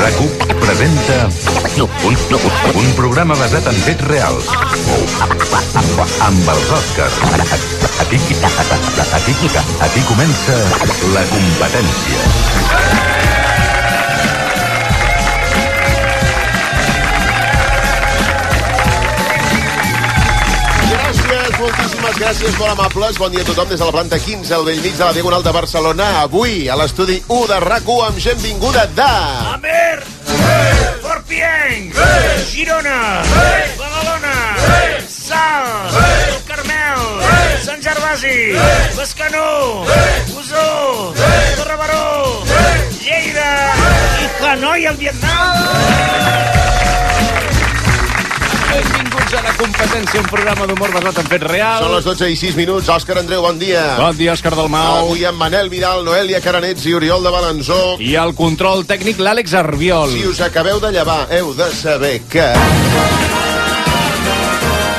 RAC1 presenta un programa basat en fets reals amb els Oscars. Aquí, aquí, aquí comença la competència. Gràcies, moltíssimes gràcies, molt amables. Bon dia a tothom des de la planta 15 al vell mig de la Diagonal de Barcelona. Avui, a l'estudi 1 de RAC1, amb gent vinguda de... Amer! Fortienc! Girona! Badalona! Salt! El Carmel! Sant Gervasi! Bescanó! Osó! Torre Baró! Lleida! I Hanoi, al Vietnam! Benvinguts a la competència, un programa d'humor basat en fets Són reals. les 12 i 6 minuts. Òscar Andreu, bon dia. Bon dia, Òscar Dalmau. Avui amb Manel Vidal, Noelia Caranets i Oriol de Balanzó. I el control tècnic, l'Àlex Arbiol. Si us acabeu de llevar, heu de saber que...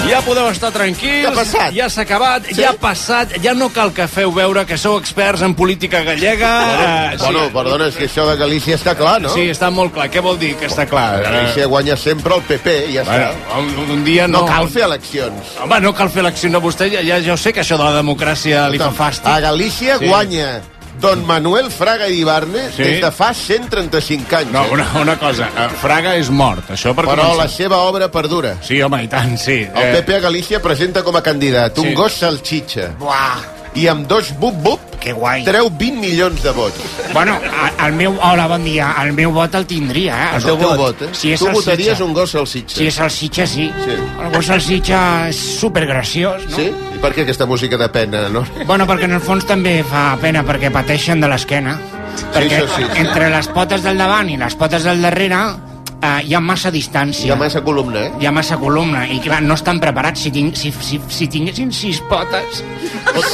Ja podeu estar tranquils. Què ha passat? Ja s'ha acabat, Sí? ja ha passat. Ja no cal que feu veure que sou experts en política gallega. Eh, sí. Bueno, perdona, és que això de Galícia està clar, no? Sí, està molt clar. Què vol dir que està clar? Ah, Galícia guanya sempre el PP, i ja està. Eh. Bueno, un, un dia No no... cal fer eleccions. Home, no cal fer elecció a vostè. Ja, ja, ja ho sé que això de la democràcia li fa A fàstic. Galícia Sí. guanya Don Manuel Fraga i Ibarne Sí. des de fa 135 anys. No, eh? una, una cosa. eh, Fraga és mort, això per Però la començar. seva obra perdura. Sí, home, i tant, sí. Eh, El PP a Galícia presenta com a candidat un Sí. gos salxitxa Buah, i amb dos bup-bup que guai. treu 20 milions de vots. Bueno, a- el meu... Hola, bon dia. El meu vot el tindria, eh? El teu vot, eh? Si és tu el votaries Sitges. un gos salxitxa. Si és salsitxa, sí. Sí. El gos salsitxa és supergraciós, no? Sí? I per què aquesta música de pena, no? Bueno, perquè en el fons també fa pena perquè pateixen de l'esquena. Perquè això sí. entre les potes del davant i les potes del darrere eh, hi ha massa distància. Hi ha massa columna, eh? hi ha massa columna i clar, no estan preparats si, tinc, si, si, si tinguessin sis potes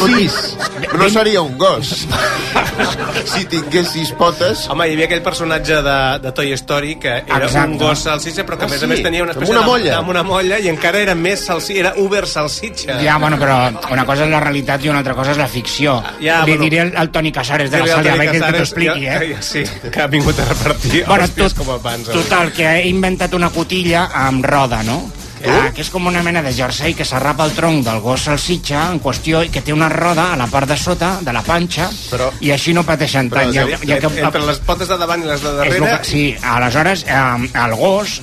Sis. No seria un gos. si tingués sis potes... Home, hi havia aquell personatge de, de Toy Story que era Exacte. un gos salsitxa, però que Ah, a més sí? a més tenia una Amb espècie una de- molla. Amb una molla i encara era més salsitxa, era uber salsitxa. ja, bueno, però una cosa és la realitat i una altra cosa és la ficció Ja, li bueno. diré al, al Toni Casares de la Tenia el Sàlia Toni Becker que t'ho Casares, expliqui, ja- eh? ja- Sí, que ha vingut a repartir bueno, Bueno, els tot, tot, com abans. eh? avui. total, que he inventat una cotilla amb roda, no? Ah, que és com una mena de jersei que s'arrapa el tronc del gos salsitxa en qüestió i que té una roda a la part de sota, de la panxa, Però- i així no pateixen Però, tant. ja- Ja, ja que, Entre les potes de davant i les de és lo darrere... que, sí, ah, aleshores, eh, el gos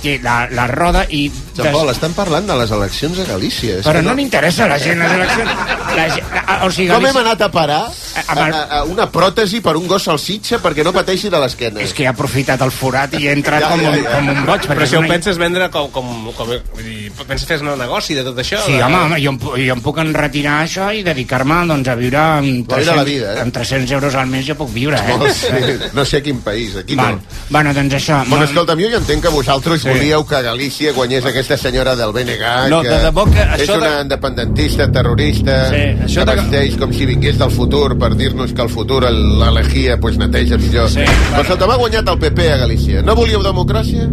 té la, la roda i... des- Jean-Paul, estan parlant de les eleccions a Galícia. És Però que no n'interessa la gent les eleccions. La gent, la- o sigui, Com hem Galícia- anat a parar a, Amb el- a, a una pròtesi per un gos salsitxa perquè no pateixi de l'esquena? és que ha aprofitat el forat i ha entrat Ja, com, ja, un, ja. com un boig. perquè Però és si ho una- penses vendre com... com, com vull dir, penses fer un negoci de tot això? Sí, de... home, home jo, em, pu- jo em puc enretirar això i dedicar-me doncs, a viure amb Guaira 300, la vida, eh? amb 300 euros al mes jo puc viure, eh? No, Oh, sí, no sé a quin país, aquí Val. no. Bueno, doncs això... Bueno, no- escolta'm, jo ja entenc que vosaltres sí. volíeu que Galícia guanyés aquesta senyora del BNG, No, que de debò que és això de- una independentista, terrorista, Sí, això que de- vesteix com si vingués del futur per dir-nos que el futur el- l'elegia, pues neteja millor. Sí, Però escolta'm, ha guanyat el PP a Galícia. No volíeu democràcia?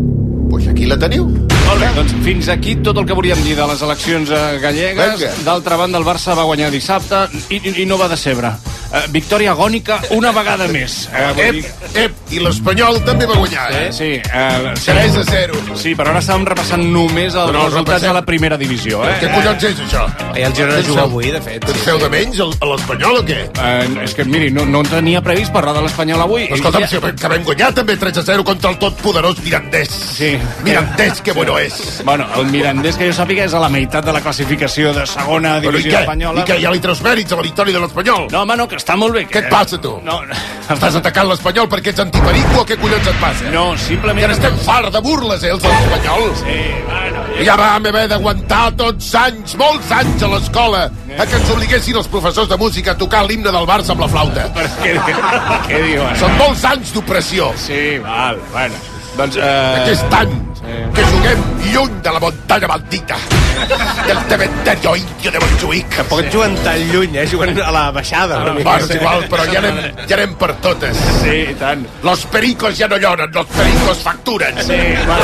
Pues aquí la teniu. Molt bé, doncs fins aquí tot el que volíem dir de les eleccions eh, gallegues. Vinga. D'altra banda, el Barça va guanyar dissabte i, i, i no va decebre. Eh, victòria agònica una vegada més. Eh, vull dir- Ep, ep, i l'Espanyol també va guanyar, eh? sí, eh, sí, 3 a 0. sí, però ara estàvem repassant només els Però resultats repassem. de la primera divisió. Què Eh? collons és això? Eh, el Girona juga avui, de fet. Ens feu de menys el- a l'Espanyol o què? Eh, no, és que, miri, no, no tenia previst parlar de l'Espanyol avui. Però Escolta'm, Ja- si que vam guanyar també 3 a 0 contra el tot poderós Mirandés. Sí. Mirandés, que bueno és. Bueno, el Mirandés, que jo sàpiga, és a la meitat de la classificació de segona Però i divisió què? espanyola. I què? Ja li treus mèrits a la victòria de l'Espanyol? No, home, no, que està molt bé. Què et passa, tu? No, Estàs atacant l'Espanyol perquè ets antiperico o què collons et passa? no simplement... Ja n'estem fart de burles, eh, els de l'Espanyol. Sí, bueno, ja- Ja vam haver d'aguantar tots anys, molts anys a l'escola, a que ens obliguessin els professors de música a tocar l'himne del Barça amb la flauta. Però què, què diuen? Són molts anys d'opressió. Sí, val, bueno. Doncs... Eh... Aquest any, Sí. que juguem lluny de la muntanya maldita del cementerio indio de Montjuïc. Tampoc sí. juguen tan lluny, eh? Juguen a la baixada. Una mica. Bueno, és igual, però ja anem, ja anem per totes. Sí, i tant. Los pericos ja no lloren, los pericos facturen. Sí, va,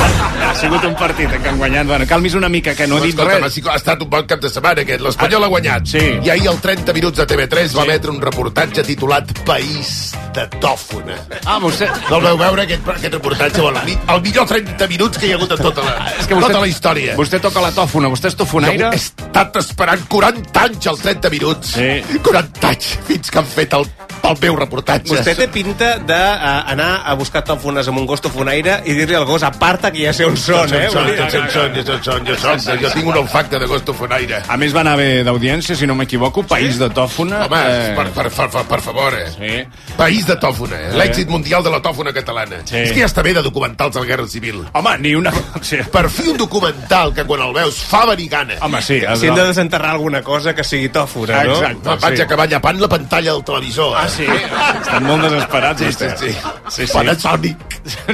ha sigut un partit que han guanyat. Bueno, calmis una mica, que no he dit Escolta'm, ha res. sigut- ha estat un bon cap de setmana aquest. L'Espanyol ha guanyat. Sí. I ahir al 30 minuts de TV3 va emetre un reportatge titulat País de tòfona. Ah, vostè... No el veu veure aquest, aquest reportatge? Bueno, el mi- el millor 30 minuts que hi ha hagut a tota la, És que vostè, tota la història. Vostè toca la tòfona, vostè és tofonaire? He estat esperant 40 anys als 30 minuts. Sí. 40 anys fins que han fet el, el meu reportatge. Vostè té pinta d'anar a buscar tòfones amb un gos tofonaire i dir-li al gos, aparta que ja sé on són, eh? Jo soc, jo soc, jo soc, jo soc, jo soc, jo tinc un olfacte de gos tofonaire. A més va anar bé d'audiència, si no m'equivoco, País eh, de Tòfona. Home, per, per, per, per, per favor, eh? Sí. País de tòfona, eh? l'èxit mundial de la tòfona catalana. Sí. És que ja està bé de documentals a la Guerra Civil. Home, ni una... Sí. Per fi un documental que quan el veus fa venir gana. Home, sí. Si hem de desenterrar alguna cosa que sigui tòfona, no? Exacte. No, Ah, vaig sí. acabar llapant la pantalla del televisor. Eh? Ah, sí? Estan molt desesperats, Sí, sí, vostès. sí. sí, sí. Panasonic.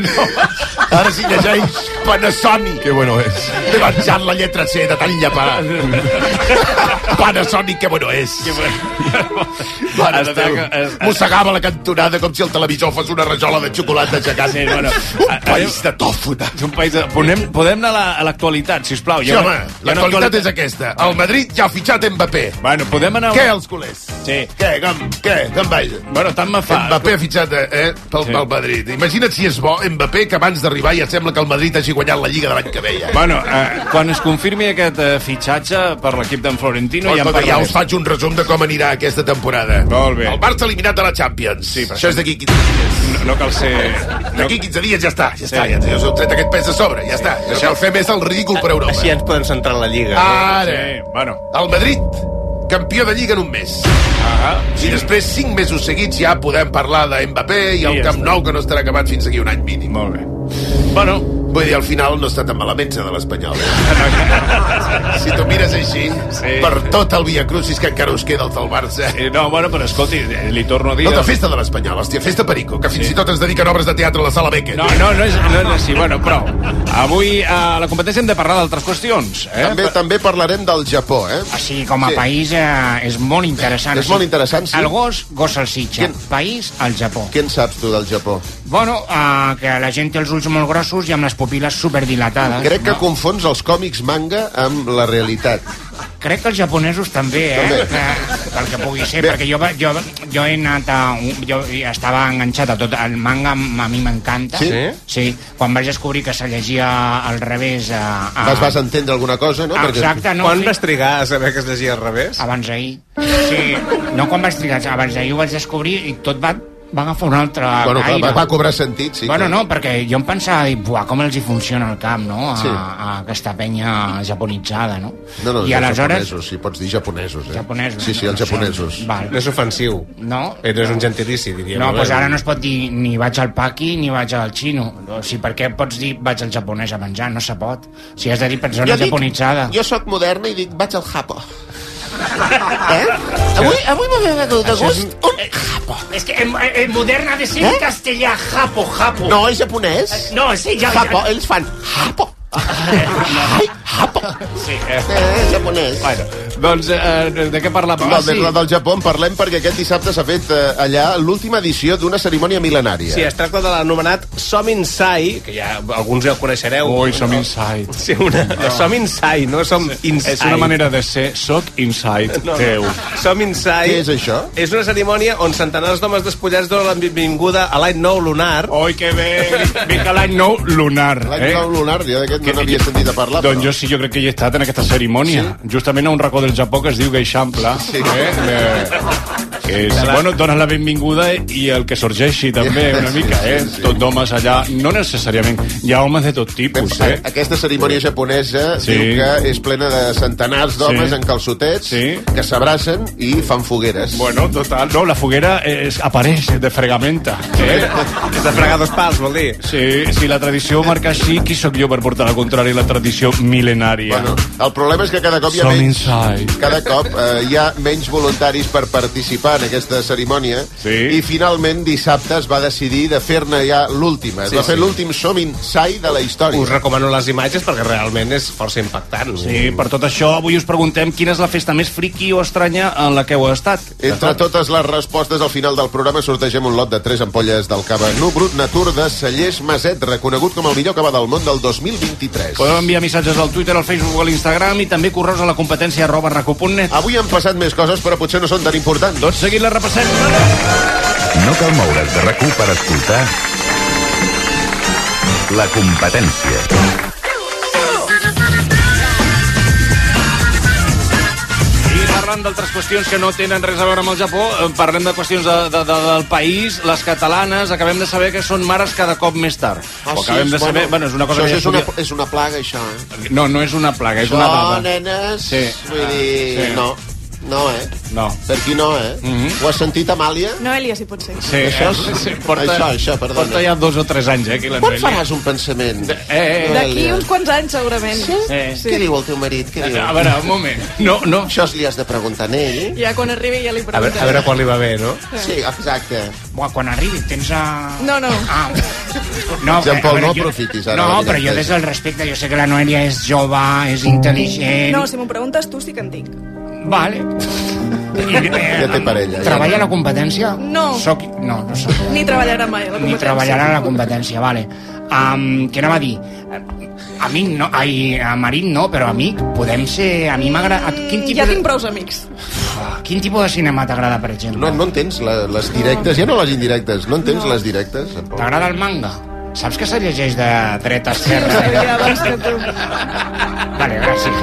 No. Ara sí llegeix Panasonic. Que bueno és. M'he marxat la lletra C de tan llepar. Panasonic, que bueno és. Que bueno. Mare Ara esteu, taca- es- mossegava la cantonada com si el televisor fos una rajola de xocolata aixecant. Sí, bueno, Ah, Un a- país de tòfona. Eh, És un país de... Podem, podem anar a la- a l'actualitat, sisplau. Sí, home, l'actualitat és aquesta. El Madrid ja ha fitxat Mbappé. Bueno, podem anar... Què, els culers? Sí. Què, Eh, com, què, com vaja? Bueno, tant me fa. Mbappé ha fitxat eh, eh, pel, Sí. pel Madrid. Imagina't si és bo Mbappé, que abans d'arribar ja sembla que el Madrid hagi guanyat la Lliga de l'any que ve. Ja. Bueno, eh, quan es confirmi aquest eh, fitxatge per l'equip d'en Florentino, No, ja en escolta, ja parlarem. us faig un resum de com anirà aquesta temporada. Molt bé. El Barça eliminat de la Champions. Sí, per això és d'aquí 15 dies. No, no cal ser... No, D'aquí 15 dies ja està, ja està. Ja, ja us heu tret aquest pes de sobre, ja està. No cal fer més el ridícul per Europa. Així ens podem centrar en la Lliga. Ara, sí, bueno, el Madrid, campió de Lliga en un mes. ah, I després, 5 mesos seguits, ja podem parlar de Mbappé i el Sí, ja Camp està. Nou, que no estarà acabat fins aquí un any mínim. molt bé. Bueno, vull dir, al final no està tan malament ser de l'Espanyol. Eh? si t'ho mires així, sí. Sí. per tot el Via Crucis que encara us queda el del Barça. Eh, no, bueno, però escolti, eh, li torno a dir... No, de festa de l'Espanyol, hòstia, festa Perico, que fins sí. i tot es dediquen obres de teatre a la sala Beckett. No, no, no és, no és així, bueno, prou. Avui eh, a la competència hem de parlar d'altres qüestions, eh? També, també parlarem del Japó, eh? O sigui, com a Sí. país eh, és molt interessant. És O sigui, molt interessant, sí. El gos, gos salsitxa. Quin- País, el Japó. Què en saps tu del Japó? Bueno, eh, que la gent té els ulls molt grossos i amb les pupil·les superdilatades. Crec que Ah, no? confons els còmics manga amb la realitat. Crec que els japonesos també, eh? També. Que, pel que pugui ser, Bé. perquè jo, va- jo, jo he anat a... un- Jo estava enganxat a tot. El manga m- a mi m'encanta. Sí? Sí. Quan vaig descobrir que se llegia al revés eh, a... a... Vas, vas entendre alguna cosa, no? Ah. Exacte, no? Quan sí. vas trigar a saber que es llegia al revés? Abans d'ahir. Sí, no quan vaig trigar, abans d'ahir ho vaig descobrir i tot va, va agafar un altre Bueno, clar, aire. va, va cobrar sentit, sí. bueno, clar. no, perquè jo em pensava, dic, buah, com els hi funciona el camp, no?, a, Sí. a aquesta penya japonitzada, no? No, no, I aleshores... japonesos, sí, pots dir japonesos, eh? Japonesos. Sí, sí, els no sé, japonesos. Val. No és ofensiu. No? Eh, No és un gentilici, diríem. No, doncs ara no es pot dir ni vaig al paqui ni vaig al xino. O sigui, per què pots dir vaig al japonès a menjar? No se pot. Si has de dir persona japonitzada. jo sóc moderna i dic, vaig al Japo. eh? Avui, avui m'ha vingut de gust un Japo. Eh, És que en, en modern ha de ser Eh? castellà, japo, japo. Eh, No, és japonès. no sí, ja... Japo, ells fan Japo. Ai, Japo. Sí, eh. Eh, és japonès. Bueno, doncs eh, de què parlàvem? Va, Ah, de- la del Japó en parlem perquè aquest dissabte s'ha fet eh, allà l'última edició d'una cerimònia mil·lenària. Sí, es tracta de l'anomenat Sominsai, que ja alguns ja el coneixereu. Ui, som inside. Sí, una... No. Som inside, no som inside. És una manera de ser soc inside No, no. teu. Som inside. Què és això? És una cerimònia on centenars d'homes despullats donen la benvinguda a l'any nou lunar. Oi, que bé! Vinc a l'any nou lunar, L'any eh? eh? lunar, jo d'aquest no n'havia sentit a parlar. Doncs jo sí, jo crec que hi he estat en aquesta cerimònia. Sí? Justament a un racó del Japó que es diu Geixample. Sí. Eh? Eh, que és, bueno, et dones la benvinguda i el que sorgeixi també una mica, eh? Sí, sí. Tot d'homes allà, no necessàriament. Hi ha homes de tot tipus, eh? Aquesta cerimònia japonesa Sí. sí. diu que és plena de centenars d'homes Sí. en calçotets Sí. que s'abracen i fan fogueres. Bueno, total, no, la foguera és, apareix de fregamenta. Eh? És de fregar dos pals, vol dir. Sí, si la tradició marca així, qui sóc jo per portar al contrari la tradició mil·lenària? Bueno, el problema és que cada cop hi ha Som menys... inside. Cada cop eh, hi ha menys voluntaris per participar en aquesta cerimònia Sí. i finalment dissabte es va decidir de fer-ne ja l'última. Es Sí, va fer sí. l'últim som insai de la història. Us recomano les imatges perquè realment és força impactant. Sí, per tot això, avui us preguntem quina és la festa més friqui o estranya en la que heu estat. Entre totes les respostes, al final del programa sortegem un lot de 3 ampolles del cava Nu Brut Natur de Cellers Maset, reconegut com el millor cava del món del 2023. Podeu enviar missatges al Twitter, al Facebook o a l'Instagram i també correus a la competència arroba recu.net. Avui han passat més coses, però potser no són tan importants. Tot seguit Doncs la repassem. No cal moure's de rac per escoltar la competència. I parlant d'altres qüestions que no tenen res a veure amb el Japó, eh, parlem de qüestions de, de, de, del país, les catalanes, acabem de saber que són mares cada cop més tard. Ah, Ho acabem de saber, bueno, és una cosa això que és, una, estudia- és una plaga, això, eh? No, no és una plaga, és Això, una dada. nenes, Sí. Ah, vull dir... Sí. No, no, eh? No. Mhm. Per aquí no, eh? Ho has sentit, Amàlia? Noelia, si pot ser. Sí, Això és- eh, sí, porta, això, això, perdona. Porta ja dos o tres anys, eh, aquí Quan l'Enreli. faràs un pensament? Eh, eh, D'aquí uns quants anys, segurament. Sí? Sí. Què diu el teu marit? Què eh. diu? A veure, un moment. No, no. Això li has de preguntar a ell. Ja quan arribi ja li A veure, preguntaré. a veure quan li va bé, no? Sí, exacte. Buah, quan arribi, tens a... No, no. Ah. No, eh, Jean-Paul, a veure, no jo- aprofitis ara No, la però jo directesa. des del respecte, jo sé que la Noelia és jove, Mm. és intel·ligent... No, si m'ho preguntes tu sí que en dic. Vale. I, eh, Ja té parella, ja. Treballa a la competència? No. Soc... No, no soc. Ni treballarà mai a la Ni competència. treballarà a la competència, vale. Um, què anava a dir? A mi no, ai, a marit no, però amic, podem ser... A mi m'agrada... Quin, Mm, tipus ja de- tinc prous amics. quin tipus de cinema t'agrada, per exemple? No, no entens la, les directes, ja no les indirectes, no entens les directes? T'agrada el manga? Saps que se llegeix de dreta a Ho esquerra? sabia abans que tu. Vale, gràcies.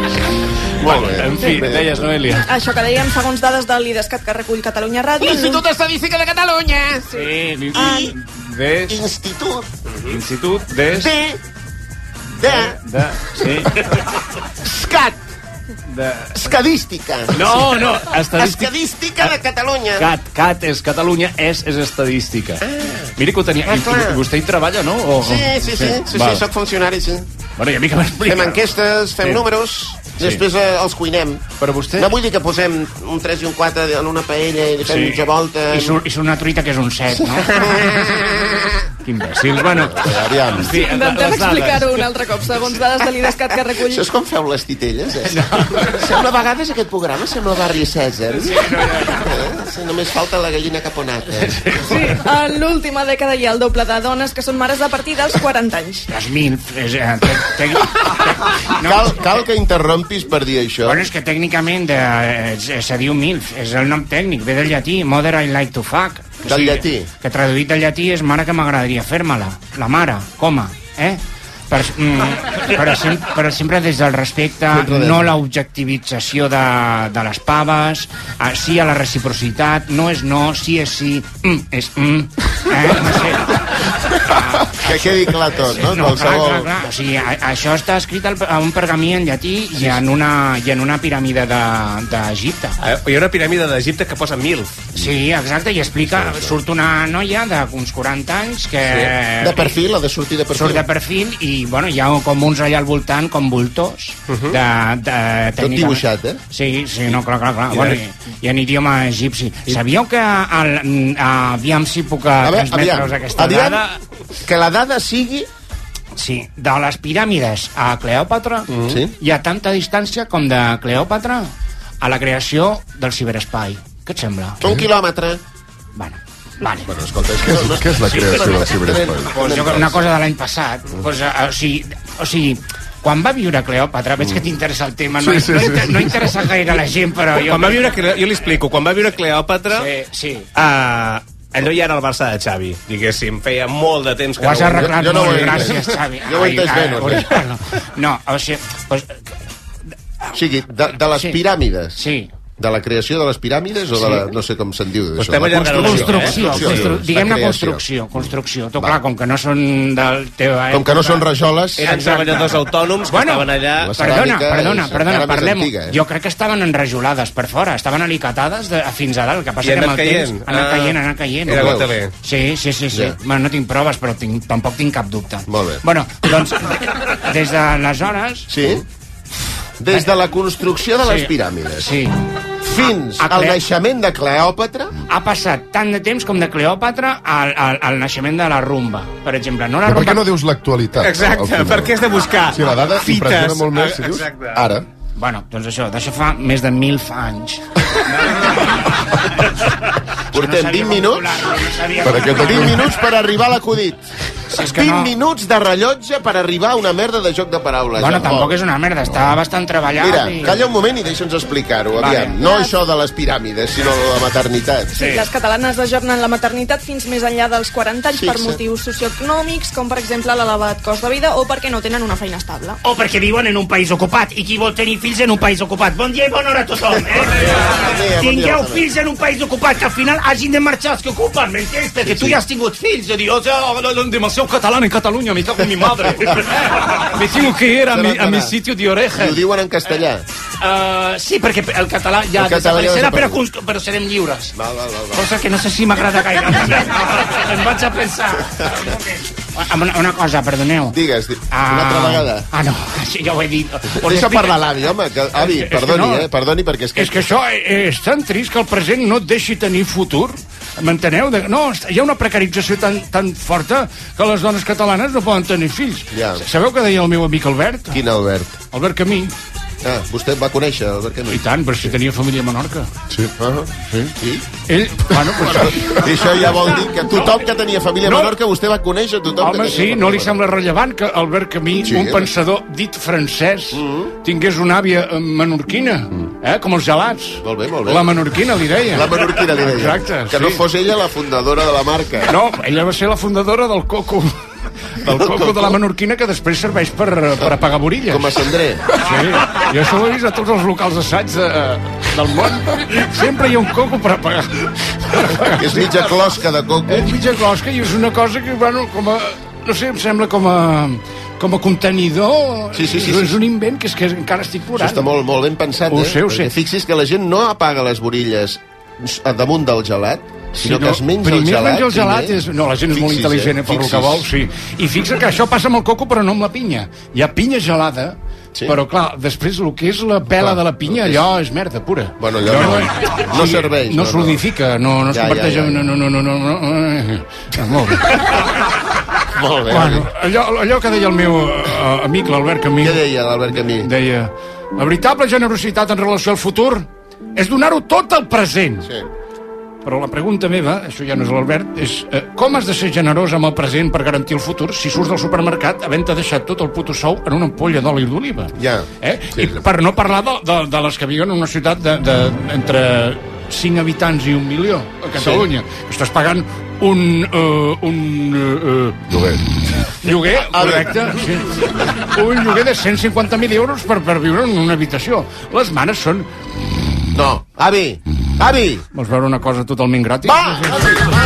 Molt bé. En fi, Bé. deies, Noelia. Això que dèiem, segons dades de l'IDESCAT que recull Catalunya Ràdio... Ah, L'Institut Estadística de Catalunya. Sí, ni- Ai. Des, Institut institut, des, de... de... Eh. de, sí, Escat. de... Escadística. No, no, estadístic. Escadística de Catalunya. Cat, cat és Catalunya, és és estadística. Mira que ho tenia... Ah, I, clar. i vostè hi treballa, no? O, o- Sí, sí, sí, sí, sí, val. sí soc funcionari, sí. Bueno, i a mi que m'explica. Fem enquestes, fem Sí. números, Sí. després eh, els cuinem. Però vostè- No vull dir que posem un 3 i un 4 en una paella i li fem Sí. sí. mitja volta... I surt, I surt una truita que és un set, no? Que imbècils, bueno. Aviam. Sí, Intentem les dades. explicar-ho un altre cop, segons dades de l'IDESCAT que recull... Això és com feu les titelles, eh? Sembla a vegades aquest programa, sembla barri Cèsar. Sí, no, eh? Sí, només falta la gallina caponata. Sí. Sí, en l'última dècada hi ha el doble de dones que són mares a partir dels 40 anys. Les mil... És, eh, te, te, te, no, Cal, cal que interrompis per dir això. Bueno, és que tècnicament de, eh, se diu MILF, és el nom tècnic, ve del llatí, Mother I Like to Fuck. Del llatí. Que traduït del llatí és mare que m'agradaria fer-me-la, la mare, coma, eh? Per, mm, però, sem però sempre des del respecte, Sempre des- no l'objectivització de, de les paves, a, sí a la reciprocitat, no és no, sí és sí, mm, és mm, eh? No sé. Que quedi clar tot, no? Clar, Qualsevol... clar, clar. O sigui, a, això està escrit al, a un pergamí en llatí i en una, i en una piràmide de- d'Egipte. Eh, Hi ha una piràmide d'Egipte que posa mil. sí, exacte, i explica... Surt una noia d'uns 40 anys que... De perfil, ha de sortir de surt perfil. de perfil i, bueno, hi ha com uns allà al voltant, com voltors, uh -huh. de, de, Uh-huh. Tot dibuixat, eh? Sí, sí, no, clar, clar, clar. I, bueno, i, i en idioma egipci. Sabíeu que... El, mm, aviam si puc A veure, transmetre-us aviam, aquesta aviam, dada. que la dada sigui... Sí, de les piràmides a Cleòpatra mm. Sí. hi ha tanta distància com de Cleòpatra a la creació del ciberespai. Què et sembla? Eh? Un quilòmetre. Bueno, vale. Bueno, Escolta, és que... No, no, Què és la creació del ciberespai? pues jo, una cosa de l'any passat. Pues, eh, o, sigui, o sigui, quan va viure Cleòpatra, veig que t'interessa el tema, no, Sí, sí, no, sí, inter- sí. no interessa gaire a la gent, però jo... Quan va viure, Cle- jo li explico, quan va viure Cleòpatra, Sí, sí. eh, allò ja era el Barça de Xavi, diguéssim. Feia molt de temps que Ho has no ho- arreglat jo- jo no molt, ho he entès. gràcies, Xavi. Jo ho he entès Ai, bé, no? ai, no, no, o sigui, pues, O sigui, de, de les Sí. piràmides. sí, De la creació de les piràmides o de la... No sé com se'n diu. d'això, Estem de la allargant construcció, construcció, eh? constru Sí, diguem-ne la creació. construcció, construcció. Tot clar, com que no són del teu... Com que no són rajoles... Eren Exacte. treballadors autònoms que Bueno, estaven allà... les- Perdona, ceràmica perdona, és perdona, encara més parlem. antiga, eh? Jo crec que estaven enrajolades per fora, estaven alicatades de, fins a dalt, que passa I que amb el anat temps... caient. Anar Ah. caient, anar caient. Era Ho veus? gota bé. Sí, sí, sí, sí. Ja. Yeah. Bueno, no tinc proves, però tinc, tampoc tinc cap dubte. Molt bé. Bueno, doncs, des d'aleshores... Sí? Des de la construcció de les piràmides. Sí. Fins a al Cleo- naixement de Cleòpatra, Ha passat tant de temps com de Cleòpatra al, al, al naixement de la rumba, per exemple. No la Però per rumba... què no dius l'actualitat? al Exacte, final? perquè has de buscar Si la dada impressiona molt més, si Ah, dius, Exacte. ara. Bueno, doncs això, d'això fa més de mil fa anys. portem 20 minuts, Per aquest 20 minuts per arribar a l'acudit. Si és que 20 no- minuts de rellotge per arribar a una merda de joc de paraules. Bueno, Jean-Paul. tampoc és una merda, està bastant treballat. Mira, i... calla un moment i deixa'ns explicar-ho, Vale. aviam. No això de les piràmides, sinó de la maternitat. Sí. Les catalanes ajornen la maternitat fins més enllà dels 40 anys per Fixa't. motius socioeconòmics, com per exemple l'elevat cost de vida o perquè no tenen una feina estable. O perquè viuen en un país ocupat i qui vol tenir fills en un país ocupat. Bon dia i bona hora a tothom, eh? dia, bon dia, Tingueu bona fills en un país ocupat que al final hagin de marxar els que ocupen, m'entens? Perquè tu ja has tingut fills, de dir, o sea, Ahora donde demasiado catalán en Cataluña, me cago en mi madre. Me tengo que ir a mi, a mi sitio de I oreja. ho diuen en castellà. eh, sí, perquè el català ja El català ja desapareixerà, desapareix. però, cons- però serem lliures. Val, val, val, val. Cosa que no sé si m'agrada gaire. em vaig a pensar. Ah, Una, una cosa, perdoneu. Digues, di- una altra vegada. Ah, no, sí, ja ho he dit. Us Deixa explico- parlar l'avi, home. Que, avi, És que perdoni, no. eh? Perdoni, perquè és que... És que això eh, és tan trist que el present no et deixi tenir futur. M'enteneu? De- No, est- hi ha una precarització tan, tan forta que les dones catalanes no poden tenir fills. Ja. Sabeu què deia el meu amic Albert? Quin Albert? Albert Camí. Ah, vostè va conèixer Albert Camí. I tant, però si tenia família a Menorca. Sí. Ah, sí. I? Ell, bueno, pues, I això ja vol dir que tothom que tenia família a No. Menorca, vostè va conèixer tothom que Home, tenia sí, família no li a sembla Menorca. rellevant que Albert Camí, Sí, Mm. sí, un eh? pensador dit francès, tingués una àvia eh, menorquina, Mm. eh, com els gelats. Molt bé, molt bé. La menorquina, li deia. La menorquina li deia. Exacte, que no sí. fos ella la fundadora de la marca. No, ella va ser la fundadora del coco. Del coco de la menorquina que després serveix per, eh, per apagar borilles. Com a Sandré. Sí, jo això ho he vist a tots els locals d'assaig de, del món. Sempre hi ha un coco per apagar. Que és mitja closca de coco. És mitja closca i és una cosa que, bueno, com a... No sé, em sembla com a com a contenidor Sí, sí, sí, és sí. un invent que és que encara estic plorant Això està molt, molt ben pensat, Ho eh? sé, ho Perquè sé. Fixi's que la gent no apaga les borilles a damunt del gelat, sinó que es menja primer el gelat. menja el gelat és... No, la gent és molt Fixi's, intel·ligent, eh? eh, per lo Fixi's. que vol, sí. I fixa que això passa amb el coco, però no amb la pinya. Hi ha pinya gelada, Sí. sí. però clar, després el que és la pela Clar, de la pinya, el que és- allò és merda pura. Bueno, allò no, no, no serveix. No, no solidifica, no, no es Ja, ja, converteix ja, en... ja. No, no, no, no, no, no. Ah, Molt bé. Molt bé. Bueno, allò, allò que deia el meu eh, amic, l'Albert Camí, Què deia l'Albert Camí? deia... La veritable generositat en relació al futur és donar-ho tot al present. Sí. Però la pregunta meva, això ja no és l'Albert, és eh, com has de ser generós amb el present per garantir el futur si surts del supermercat havent-te deixat tot el puto sou en una ampolla d'oli d'oliva? Ja. Eh? Sí, Sí, I sí. per no parlar de, de, de les que viuen en una ciutat de, de, entre 5 habitants i un milió, a Catalunya. Sí. Estàs pagant un... Uh, un uh, Lloguer. lloguer, correcte, sí. un lloguer de 150.000 euros per, per viure en una habitació. Les manes són... No. Avi! Avi! Vols veure una cosa totalment gratis? Va! Avi, va!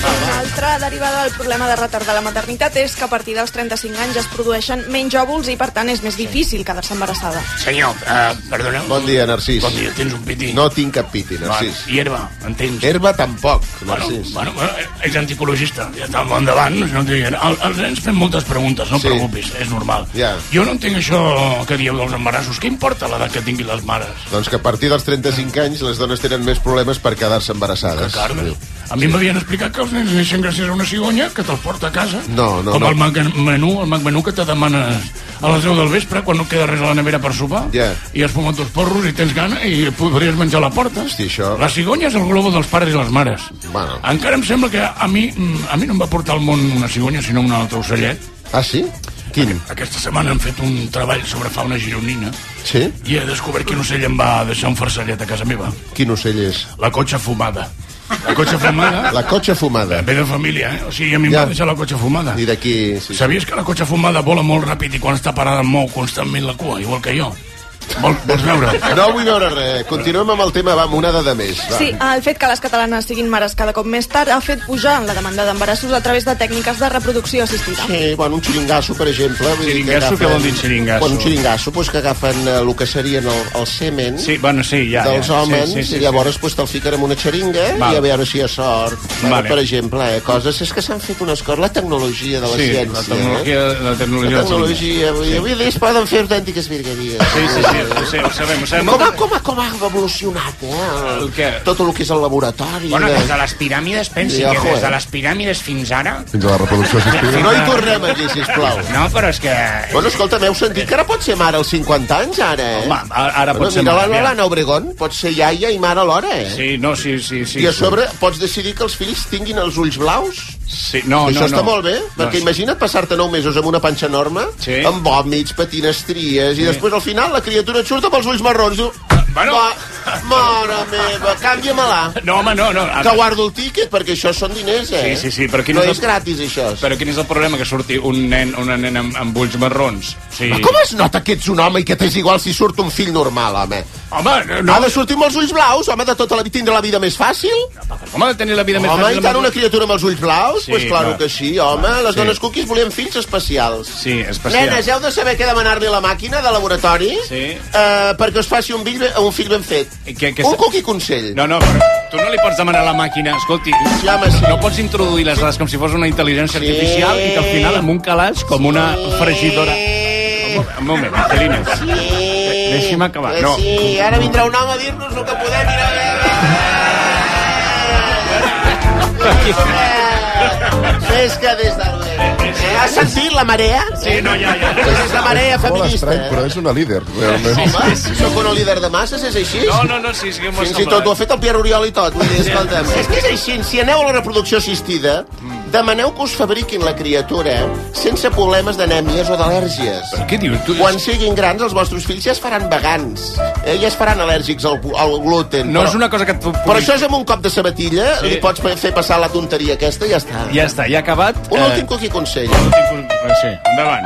Una altra derivada del problema de retard de la maternitat és que a partir dels 35 anys es produeixen menys òvuls i, per tant, és més difícil quedar-se embarassada. Senyor, eh, perdoneu. Bon dia, Narcís. Bon dia, tens un piti. No tinc cap piti, Narcís. Hierba, entens? Herba tampoc, Bueno, Narcís. bueno, bueno, és anticologista, ja està al endavant, no et diguen. El, els nens fem moltes preguntes, no et Sí. preocupis, és normal. Ja. Jo no entenc això que dieu dels embarassos, què importa l'edat que tinguin les mares? Doncs que a partir dels 35 anys les dones tenen més problemes per quedar-se embarassades. Carme. A mi m'havien explicat que els nens neixen gràcies a una cigonya que te'ls porta a casa. No, no, Com no. el Mac menú, el Mac menú que te demana a les 10 del vespre quan no queda res a la nevera per sopar. Ja. I has fumat dos porros i tens gana i podries menjar a la porta. Hosti, això- La cigonya és el globo dels pares i les mares. Bueno. Encara em sembla que a mi, mm, a mi no em va portar al món una cigonya, sinó un altre ocellet. Ah, sí? Quin? Aquesta setmana hem fet un treball sobre fauna gironina Sí? i he descobert que un ocell em va deixar un farcellet a casa meva. Quin ocell és? La cotxa fumada. La cotxa fumada... La cotxa fumada. Ve de família, eh? O sigui, a mi em Ja. va deixar la cotxa fumada. I d'aquí... Sí, sí. Sabies que la cotxa fumada vola molt ràpid i quan està parada mou constantment la cua, igual que jo? Vol, vols veure? No vull veure res. Continuem amb el tema, va, amb una dada més. Va. Sí, el fet que les catalanes siguin mares cada cop més tard ha fet pujar la demanda d'embarassos a través de tècniques de reproducció assistida. Sí, bueno, un xiringasso, per exemple. vull dir Xiringasso, que què vol dir xiringasso? Bueno, un xiringasso, doncs, que agafen eh, el que serien el, el semen Sí, bueno, sí, ja. dels ja. homes i llavors pues, te'l fiquen en una xeringa Val. i a veure si hi ha sort. Bueno, Vale. Per exemple, eh, coses... És que s'han fet unes coses... La tecnologia de la Sí, ciència. la tecnologia, la Eh? tecnologia, La tecnologia... Avui, avui dia es poden fer autèntiques virgueries. Sí, sí, sí, ho sé, ho sabem, ho sabem. Com, ha- com, ha- com ha evolucionat, eh? El, El què? Tot el que és el laboratori. Bueno, de- des de les piràmides, pensi Ja, que joder. des de les piràmides fins ara... Fins a la reproducció assistida. No hi tornem aquí, sisplau. No, però és que... Bueno, escolta, m'heu sentit que ara pot ser mare als 50 anys, ara, eh? Home, a- ara pot ser mira, mare, mare. mira. Mira, l'Anna Obregón pot ser iaia i mare alhora, eh? Sí, no, sí, sí, sí. I a sobre pots decidir que els fills tinguin els ulls blaus? Sí, no, Això no, està no. molt bé, perquè sí. imagina't passar-te 9 mesos amb una panxa enorme, Sí. amb vòmits, patines, tries, i després al final la criatura et surt amb els ulls marrons. Diu, Ah, bueno. Va, mare meva, canvia-me-la. No, home, no, no. a- Que guardo el tíquet, perquè això són diners, eh? Ah. Sí, sí, sí, però quin no és el- és, gratis, això. Però quin és el problema? Que surti un nen o una nena amb, amb ulls marrons. Sí. Com es nota que ets un home i que t'és igual si surt un fill normal, home? Home, No. no, Ha de sortir amb els ulls blaus, home, de tota la vida tindre la vida més fàcil. home, ha de tenir la vida més Home, fàcil i amb tant els una ulls- criatura amb els ulls blaus? Sí, Sí, pues claro clar. que sí, home. Les Sí. dones cookies volien fills especials. Sí, especial. Nenes, heu de saber què demanar-li a la màquina de laboratori Sí. eh, perquè us faci un, fill, un fill ben fet. I que- que- un cookie consell. No, no, però tu no li pots demanar a la màquina, escolti, Ja, home, sí. no pots introduir les dades com si fos una intel·ligència Sí. artificial i que al final amb un calaix com una fregidora... Sí. Un moment, Angelina. Sí. Deixi'm acabar. Que No. Eh, Sí, ara vindrà un home a dir-nos el que podem i no... Fes que des de l'Oest. Eh, Has sentit la marea? Sí, No, ja, ja. ja. És la marea Molt feminista. estrany, però és una líder, realment. eh? Home, sóc una líder de masses, és així? No, no, no, sí, sí que m'ho Fins i tot ho ha fet el Pierre Oriol i tot. Vull dir, escolta'm, és que és així. Si aneu a la reproducció assistida, Mm. demaneu que us fabriquin la criatura sense problemes d'anèmies o d'al·lèrgies. Què dius? Tu, Quan siguin grans, els vostres fills ja es faran vegans. Eh? Ja es faran al·lèrgics al, gu- al gluten. no però, és una cosa que et pugui... Però això és amb un cop de sabatilla, Sí. sí. li pots pa- fer passar la tonteria aquesta i ja està. Ja està, ja ha acabat. eh. Un últim cookie consell. últim... Sí, endavant.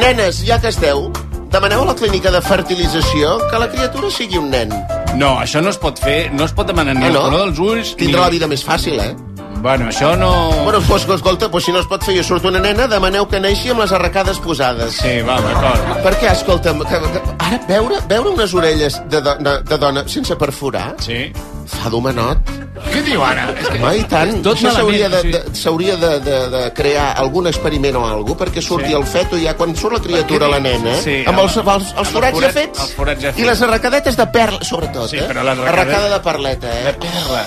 Nenes, ja que esteu, demaneu a la clínica de fertilització que la criatura sigui un nen. No, això no es pot fer, no es pot demanar ni Ah, el no? color dels ulls... ni... Tindrà la vida més fàcil, eh? Bueno, això no... Bueno, pues, escolta, pues, si no es pot fer i surt una nena, demaneu que neixi amb les arracades posades. Sí, va, d'acord. Perquè, escolta'm, que, que, ara veure, veure unes orelles de, dona, de dona sense perforar Sí. fa d'homenot. Què diu ara? És que... Home, i tant. Tot Això s'hauria de, malament, de, s'hauria de, de, de crear algun experiment o alguna perquè surti Sí. el feto ja quan surt la criatura, la nena, eh? Sí, amb els, amb- els, amb els el forats ja forat- fets. els forats ja I fets. les arracadetes de perla, sobretot, Sí, eh? però les arracades- Arracada de perleta, eh? De perla.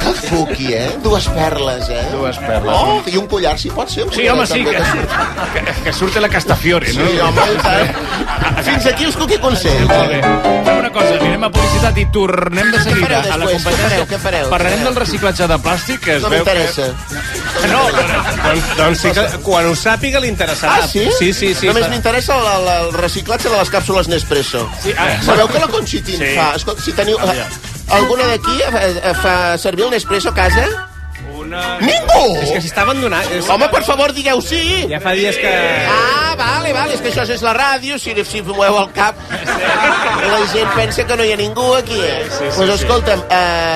Que fuqui, eh? Dues perles, eh? Dues perles. Oh, i un collar, si pot ser. un Sí, collar home, sí, també, que, que, que surte la Castafiore, no? Sí, home, i tant. Fins aquí els cookie consells. Molt bé. Fem una cosa, anirem a publicitat i tornem de fareu seguida a la després? competència. Què fareu? Què fareu? Parlarem Què del reciclatge de plàstic, que es No veu... m'interessa. Que... No, però- Doncs, doncs sí que quan ho sàpiga li interessarà. Ah, sí? Sí, sí, sí. Només m'interessa la- la- el reciclatge de les càpsules Nespresso. Sí, ah. Sabeu que la Conchitin Sí. sí. fa... Escolta, si teniu... alguna d'aquí eh, eh, fa servir el Nespresso a casa? Una... Ningú! Que s'està abandonant. És... Home, per favor, digueu sí! Ja fa dies que... Ah, vale, vale, és que això és la ràdio, si, si fumeu el cap... La gent pensa que no hi ha ningú aquí, eh? Doncs sí, sí, pues escolta'm,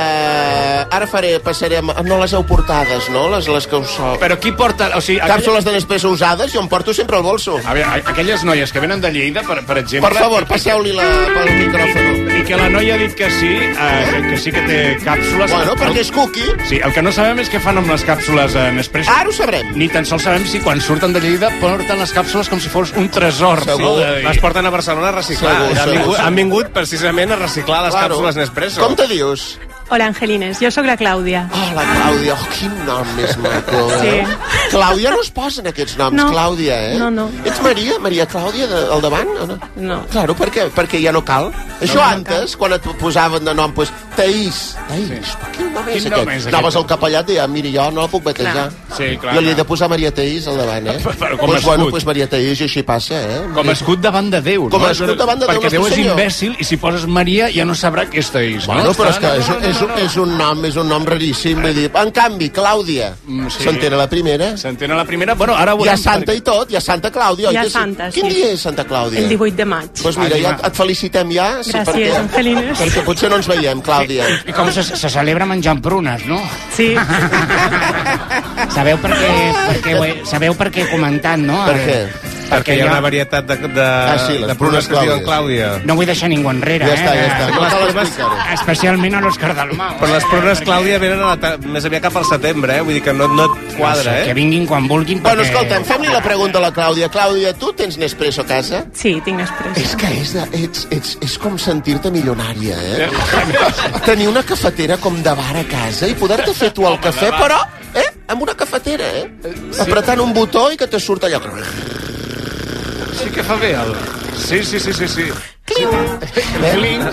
eh, ara faré, passarem... No les heu portades, no? Les, les que us... Però... Però qui porta... O sigui, aquelles, Càpsules de Nespresso usades, jo em porto sempre al bolso. a veure, aquelles noies que venen de Lleida, per, per exemple... Per favor, passeu-li la... pel micròfon. I que la noia ha dit que sí, eh, que, que sí que té càpsules... Bueno, perquè és cookie. Sí, el que no sabem és què fan amb les càpsules en Nespresso. Ara ho sabrem. Ni tan sols sabem si quan surten de Lleida porten les càpsules com si fos un tresor. Segur. Sí, Les porten a Barcelona a reciclar. Segur, Ja han, segur, vingut, segur. han vingut precisament a reciclar les càpsules Nespresso. Com te dius? Hola, Angelines, jo sóc la Clàudia. Hola, Clàudia. Oh, quin nom més maco. eh? Sí. Clàudia no es posen aquests noms, No. Clàudia, eh? No, no. Ets Maria? Maria Clàudia, de, al davant? O no? No. Claro, per què? perquè ja no cal. Això no, antes, quan et posaven de nom, pues, Taís. Taís, quin nom és Quin aquest? nom és aquest? Anaves al capellat i ja, mira, jo no la puc batejar. Clar. Sí, clar, Jo li he clar. de posar Maria Taís al davant, eh? Però com pues, escut. bueno, pues Maria Taís i així passa, eh? Com a escut davant de Déu. Com no? a escut davant de Déu, Perquè Déu és nostre senyor. imbècil i si poses Maria ja no sabrà que és teís. Bueno, no? però és que és, un- és, un, és un nom, és un nom raríssim. Vull dir, en canvi, Clàudia, Mm, sí. s'entén a la primera. S'entén a la primera? Bueno, ara ho Hi ha Santa i tot, hi ha Santa Clàudia. oi Hi ha que sí? Santa, sí. Quin dia és Santa Clàudia? El 18 de maig. Doncs mira, ja et felicitem ja. Gràcies, Angelines. Perquè potser no ens veiem, Clàudia. I com se, se celebra menjant prunes, no? Sí, Sabeu per què, per què ho he, sabeu per què he comentat, no? Per què? Perquè hi ha una varietat de, de, ah, sí, les de prunes que es diuen Clàudia. No vull deixar ningú enrere, Ja eh? està, ja està. No cal explicar-ho. Especialment a l'Òscar Dalmau. Però les prunes, Clàudia, venen a la ta- més aviat cap al setembre, eh? Vull dir que no, no et quadra, eh? Que vinguin quan vulguin, perquè- Bueno, escolta, fem-li la pregunta a la Clàudia. Clàudia, tu tens Nespresso a casa? Sí, tinc Nespresso. És que és, de, ets, ets, és com sentir-te milionària, eh? Tenir una cafetera com de bar a casa i poder-te fer tu el cafè, de bar. però, eh? Amb una cafetera, eh? Apretant un botó i que te surt allò... Sí que fa bé el... Sí, sí, sí, sí, sí. Clink.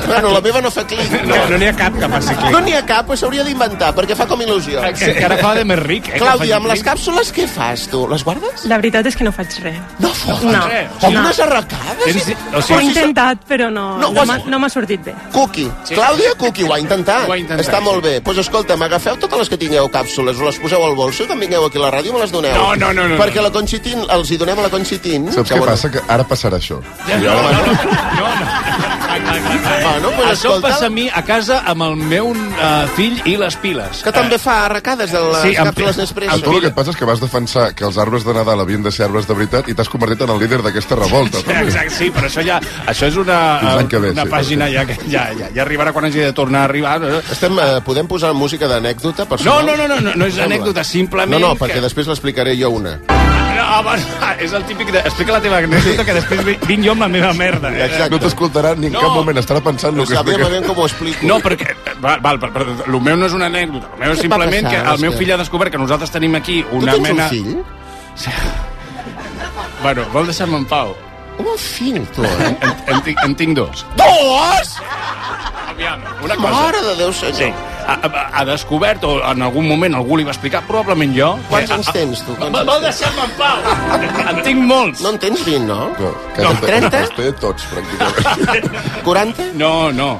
Bueno, la meva no fa clink. No, no n'hi ha cap que faci clic. No n'hi ha cap, però s'hauria d'inventar, perquè fa com il·lusió. Encara fa de més ric, eh, que faci Clàudia, amb les clic. càpsules què fas, tu? Les guardes? La veritat és que no faig res. No fots? No. Com unes arracades? Tens... O o sigui- sigui, ho he intentat, però no, No, no, ho has- m'ha- no m'ha sortit bé. Cookie. Sí. Clàudia Cookie, ho ha intentat. Ho ha intentat, Està sí. molt bé. Doncs pues escolta'm, agafeu totes les que tingueu càpsules, us les poseu al bolso i quan vingueu aquí a la ràdio me les doneu. No, no, no, no, Perquè la Conchitín, els hi donem a la Conchitín. Saps què passa? Que ara passarà això. Bueno, pues Això em escolta. passa a mi a casa amb el meu eh, fill i les piles. Que també fa arracades de les Sí, amb- càpsules A Nespresso. tu el que et passa és que vas defensar que els arbres de Nadal havien de ser arbres de veritat i t'has convertit en el líder d'aquesta revolta. Sí, Exacte, sí, però això ja... Això és una, Fins l'any que ve, una sí, pàgina sí. ja, que ja, ja, ja arribarà quan hagi de tornar a arribar. Estem, eh, podem posar música d'anècdota No, personal? no, no, no, no, no és Sembla. anècdota, simplement... No, no, perquè després l'explicaré jo una. Que... No, home, Ah, és el típic de... Explica la teva anècdota que després vi- vinc jo amb la meva merda. Eh? Exacte. No t'escoltarà ni en No. cap moment, estarà pensant el que explica. com ho explico. No, perquè... Val, val, però, però el meu no és una anècdota. El meu Què és et va simplement passar, que el meu Òscar? fill ha descobert que nosaltres tenim aquí una tens un mena... fill? Bueno, vol deixar-me en pau. Un fill, tu, eh? En, en, tinc, en tinc dos. Dos! Aviam, una cosa. Mare de Déu, senyor. Sí. Ha, ha, ha descobert, o en algun moment algú li va explicar, probablement jo... Eh, que- Quants a- anys a- tens, tu? Quants Vol- anys Vol tens? deixar-me en pau? En tinc molts. No en tens 20, no? No, No, que 30? Els té tots, pràcticament. 40? No, no.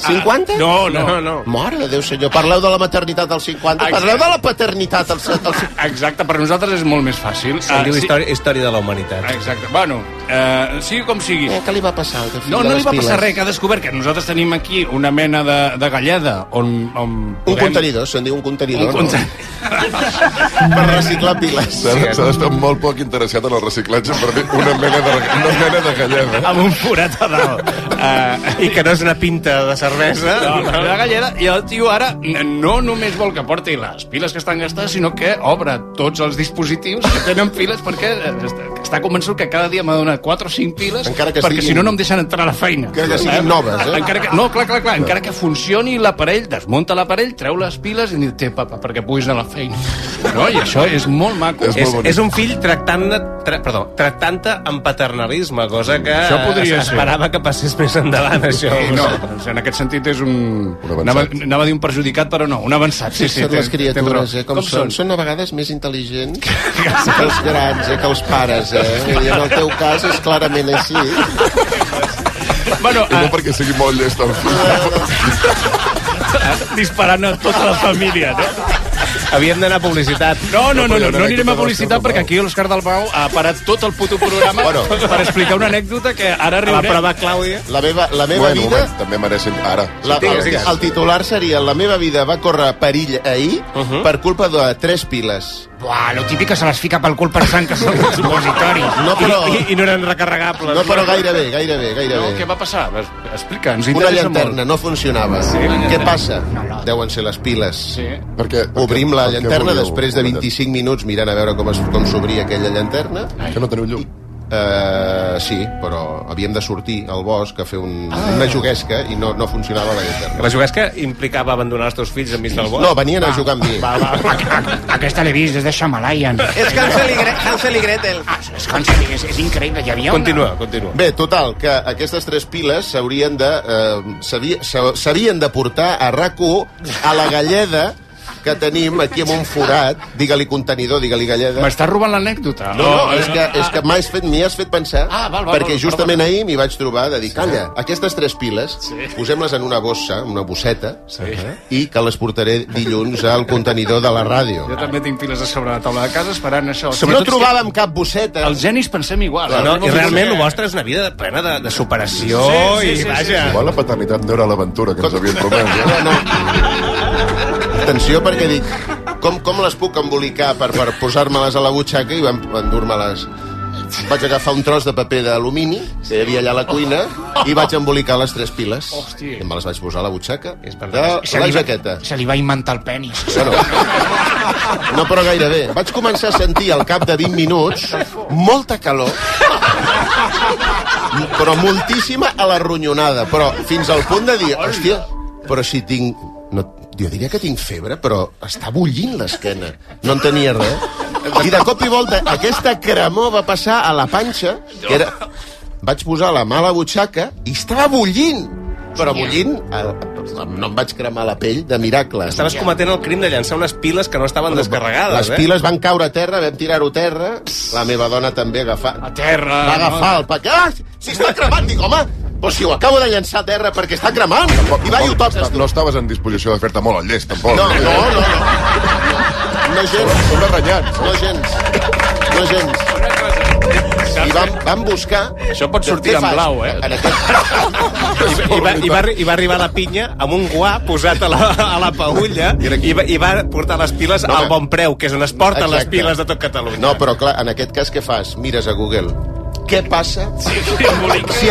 50? no, no. No, no. Mare de Déu, senyor. Parleu de la maternitat als 50, Exacte. parleu de la paternitat als... als... Exacte, per nosaltres és molt més fàcil. Ah, Se'n diu història, història de la humanitat. Exacte. Bueno, eh, sigui com sigui. Eh, què li va passar? al teu fill No, de no les li va passar piles? res, que ha descobert que nosalres tenim aquí una mena de, de galleda on... on Un contenidor, se'n diu un contenidor. no? Un conte- Per reciclar piles. S'ha s'ha d'estar molt poc interessat en el reciclatge per dir una mena de, una mena de galleda. Ah, amb un forat a dalt. Uh, Eh, I que no és una pinta de cervesa. No, no, la galleda, i el tio ara n- no només vol que porti les piles que estan gastades, sinó que obre tots els dispositius que tenen piles perquè eh, està, està convençut que cada dia m'ha donat 4 o 5 piles Encara que perquè siguin- si no no em deixen entrar a la feina. Encara que Saps? siguin noves, eh? Encara que, no, clar, clar, clar, encara que funcioni l'aparell, desmunta l'aparell, treu les piles i diu, té, papa, perquè puguis anar a la feina. No, i això és molt maco. És, és, és un fill tractant-te tra, perdó, tractant-te amb paternalisme, cosa que Això podria es- ser. esperava que passés més endavant, això. Sí, no, doncs en aquest sentit és un... un anava, anava a dir un perjudicat, però no, un avançat. Sí, sí, són les tens- tens raó. criatures, eh, com, com són? Són a vegades més intel·ligents que els grans, eh, que els pares, eh? Vull dir, en el teu cas és clarament així. Bueno, I no perquè sigui molt llest el fill. disparant a tota la família, no? Havíem d'anar a publicitat. No, no, no, no, no anirem a publicitat perquè aquí l'Òscar Dalbau ha parat tot el puto programa bueno. per explicar una anècdota que ara riurem. La prova Clàudia. La meva, la meva bueno, vida... Moment, també mereixen ara. La, el, Digues, digues. el titular seria La meva vida va córrer perill ahir uh -huh. per culpa de tres piles. Buah, lo típic que se les fica pel cul pensant que són supositoris. No, però- I- I no eren recarregables. No, però gairebé, gairebé, gairebé. No, què va passar? Es- Explica, ens Una interessa llanterna no funcionava. Sí, una Què llanterna. passa? Deuen ser les piles. Sí. Perquè, Obrim la per què llanterna volíeu després de 25 minuts mirant a veure com es- com s'obria aquella llanterna. Que no teniu llum. Uh, sí, però havíem de sortir al bosc a fer un, ah. una juguesca i no, no funcionava la llanterna. La juguesca implicava abandonar els teus fills enmig del bosc? No, venien a jugar amb mi. Va, va, va. Aquesta l'he vist des de Shamalayan. És Hansel i, Gre Hansel i Gretel. És, Hansel i- és, és increïble, hi havia una... continua. Bé, total, que aquestes tres piles s'haurien de... Eh, s'havia- s'ha- s'havien de portar a rac a la galleda que tenim aquí amb un forat. Digue-li contenidor, digue-li galleda. M'estàs robant l'anècdota. Ah, No, no, és que, és que m'has fet, m'hi has fet pensar, ah, val, val, perquè val, justament perdona. ahir m'hi vaig trobar de dir, calla, aquestes tres piles, posem-les en una bossa, una bosseta, i que les portaré dilluns al contenidor de la ràdio. Jo també tinc piles a sobre la taula de casa esperant això. no trobàvem cap bosseta. Els genis pensem igual. No, Arriba I un realment, moment- el vostre és una vida plena de, de superació Sí, sí, i, sí, sí, vaja... Igual la paternitat no era l'aventura que ens havien promès. Eh? No, Atenció, perquè dic, com, com les puc embolicar per, per posar-me-les a la butxaca i van- endur-me-les? Vaig agafar un tros de paper d'alumini que hi havia allà a la cuina i vaig embolicar les tres piles. Hòstia. I me les vaig posar a la butxaca de Se la li va- jaqueta. Se li va inventar el penis. Bueno, no, però gairebé. Vaig començar a sentir al cap de 20 minuts molta calor, però moltíssima a la ronyonada, però fins al punt de dir, hòstia, però si tinc... No, jo diria que tinc febre, però està bullint l'esquena. No en tenia res. I de cop i volta aquesta cremor va passar a la panxa, que era... Vaig posar la mà a la butxaca i estava bullint. Però bullint, eh, no em vaig cremar la pell de miracle. Estaves cometent el crim de llançar unes piles que no estaven descarregades, Les eh? piles van caure a terra, vam tirar-ho a terra. La meva dona també agafar... A terra, Va agafar no? el paquet. Ah, si està cremant, dic, home, però si ho acabo de llançar a terra perquè està cremant. I va dir, tot. No estaves en disposició de fer-te molt el llest, tampoc. eh? No, no, no. No, no gens. Som renyats. No gens. No gens. I van, van buscar... Això pot sortir en blau, eh? En aquest... I, va, i, va, I va arribar la pinya amb un guà posat a la, a la paulla i va, i va portar les piles No, al home. bon preu, que és on es porten les Exacte. piles de tot Catalunya. No, però clar, en aquest cas què fas? Mires a Google. Què passa si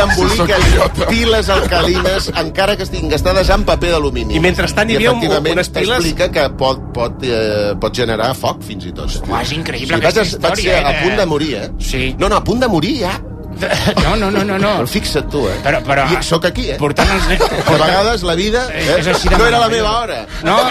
emboliques piles alcalines encara que estiguin gastades en paper d'alumini? I mentrestant hi havia un- efectivament, unes piles- t'explica que pot, pot, eh, pot generar foc, fins i tot. Uah, és increïble vaig, aquesta es- vaig ser història, a eh? punt de morir, eh? Sí. No, no, a punt de morir, ja. No, no, no, no. no. Però fixa't tu, eh? Però, però... I sóc aquí, eh? Portant els nens... De vegades la vida eh, és així de no era la meravellosa. meva hora. No,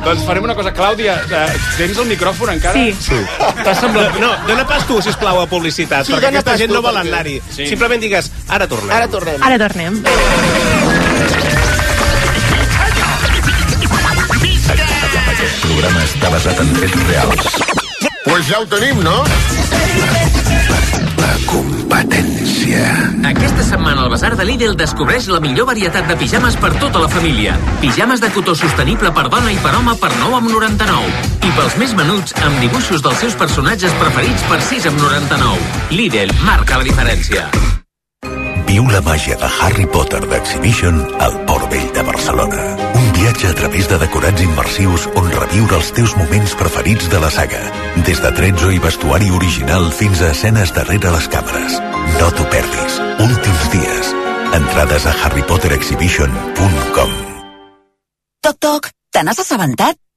Doncs farem una cosa, Clàudia, eh, tens el micròfon encara? Sí. T'ha semblat... No, dona pas tu, sisplau, a publicitat, Sí, perquè dona aquesta pas gent tu, no vol perquè- anar-hi. Sí. Simplement digues, ara tornem. Ara tornem. Ara tornem. Programes basat en fets reals. Pues ja ho tenim, no? Aquesta setmana el Bazar de Lidl descobreix la millor varietat de pijames per tota la família. Pijames de cotó sostenible per dona i per home per 9 amb 99. I pels més menuts, amb dibuixos dels seus personatges preferits per 6 amb 99. Lidl marca la diferència. Viu la màgia de Harry Potter d'Exhibition al Port Vell de Barcelona. Un viatge a través de decorats immersius on reviure els teus moments preferits de la saga. Des de tretzo i vestuari original fins a escenes darrere les càmeres. No t'ho perdis. Últims dies. Entrades a harrypoterexhibition.com Toc, toc, te n'has assabentat?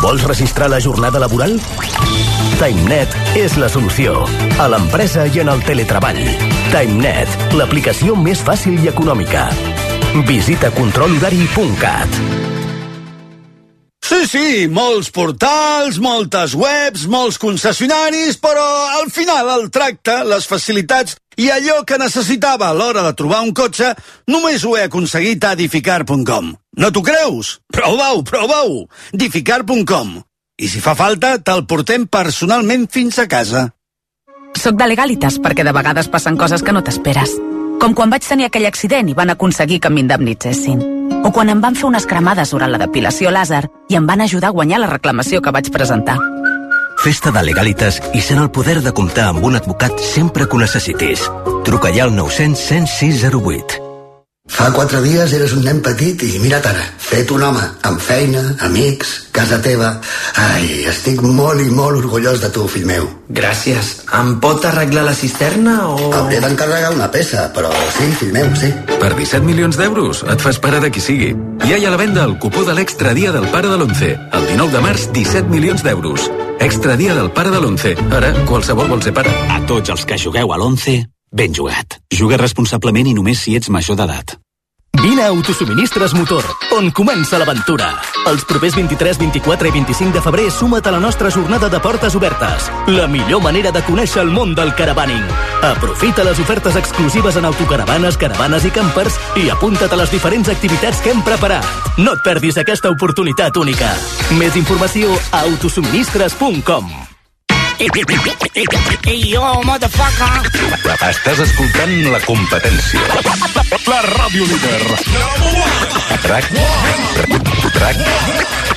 Vols registrar la jornada laboral? TimeNet és la solució. A l'empresa i en el teletreball. TimeNet, l'aplicació més fàcil i econòmica. Visita controlhorari.cat. Sí, sí, molts portals, moltes webs, molts concessionaris, però al final el tracte, les facilitats i allò que necessitava a l'hora de trobar un cotxe només ho he aconseguit a edificar.com. No t'ho creus? Prova-ho, prova-ho! edificar.com. I si fa falta, te'l portem personalment fins a casa. Soc de Legalitas perquè de vegades passen coses que no t'esperes. Com quan vaig tenir aquell accident i van aconseguir que m'indemnitzessin. O quan em van fer unes cremades durant la depilació làser i em van ajudar a guanyar la reclamació que vaig presentar. Festa de Legalitas i sent el poder de comptar amb un advocat sempre que ho necessitis. Truca ja al 900 106 08. Fa quatre dies eres un nen petit i mira't ara, fet un home, amb feina, amics, casa teva... Ai, estic molt i molt orgullós de tu, fill meu. Gràcies. Em pot arreglar la cisterna o...? Hauré d'encarregar una peça, però sí, fill meu, sí. Per 17 milions d'euros et fas pare de qui sigui. Hi ha a la venda el cupó de l'extra dia del pare de l'11. El 19 de març, 17 milions d'euros. Extra dia del pare de l'11. Ara, qualsevol vol ser pare. A tots els que jugueu a l'11, ben jugat. Juga responsablement i només si ets major d'edat. Vine a Autosuministres Motor, on comença l'aventura. Els propers 23, 24 i 25 de febrer suma't a la nostra jornada de portes obertes. La millor manera de conèixer el món del caravaning. Aprofita les ofertes exclusives en autocaravanes, caravanes i campers i apunta't a les diferents activitats que hem preparat. No et perdis aquesta oportunitat única. Més informació a autosuministres.com Ei, yo, motherfucker! Estàs escoltant la competència. La ràdio líder. RAC. RAC.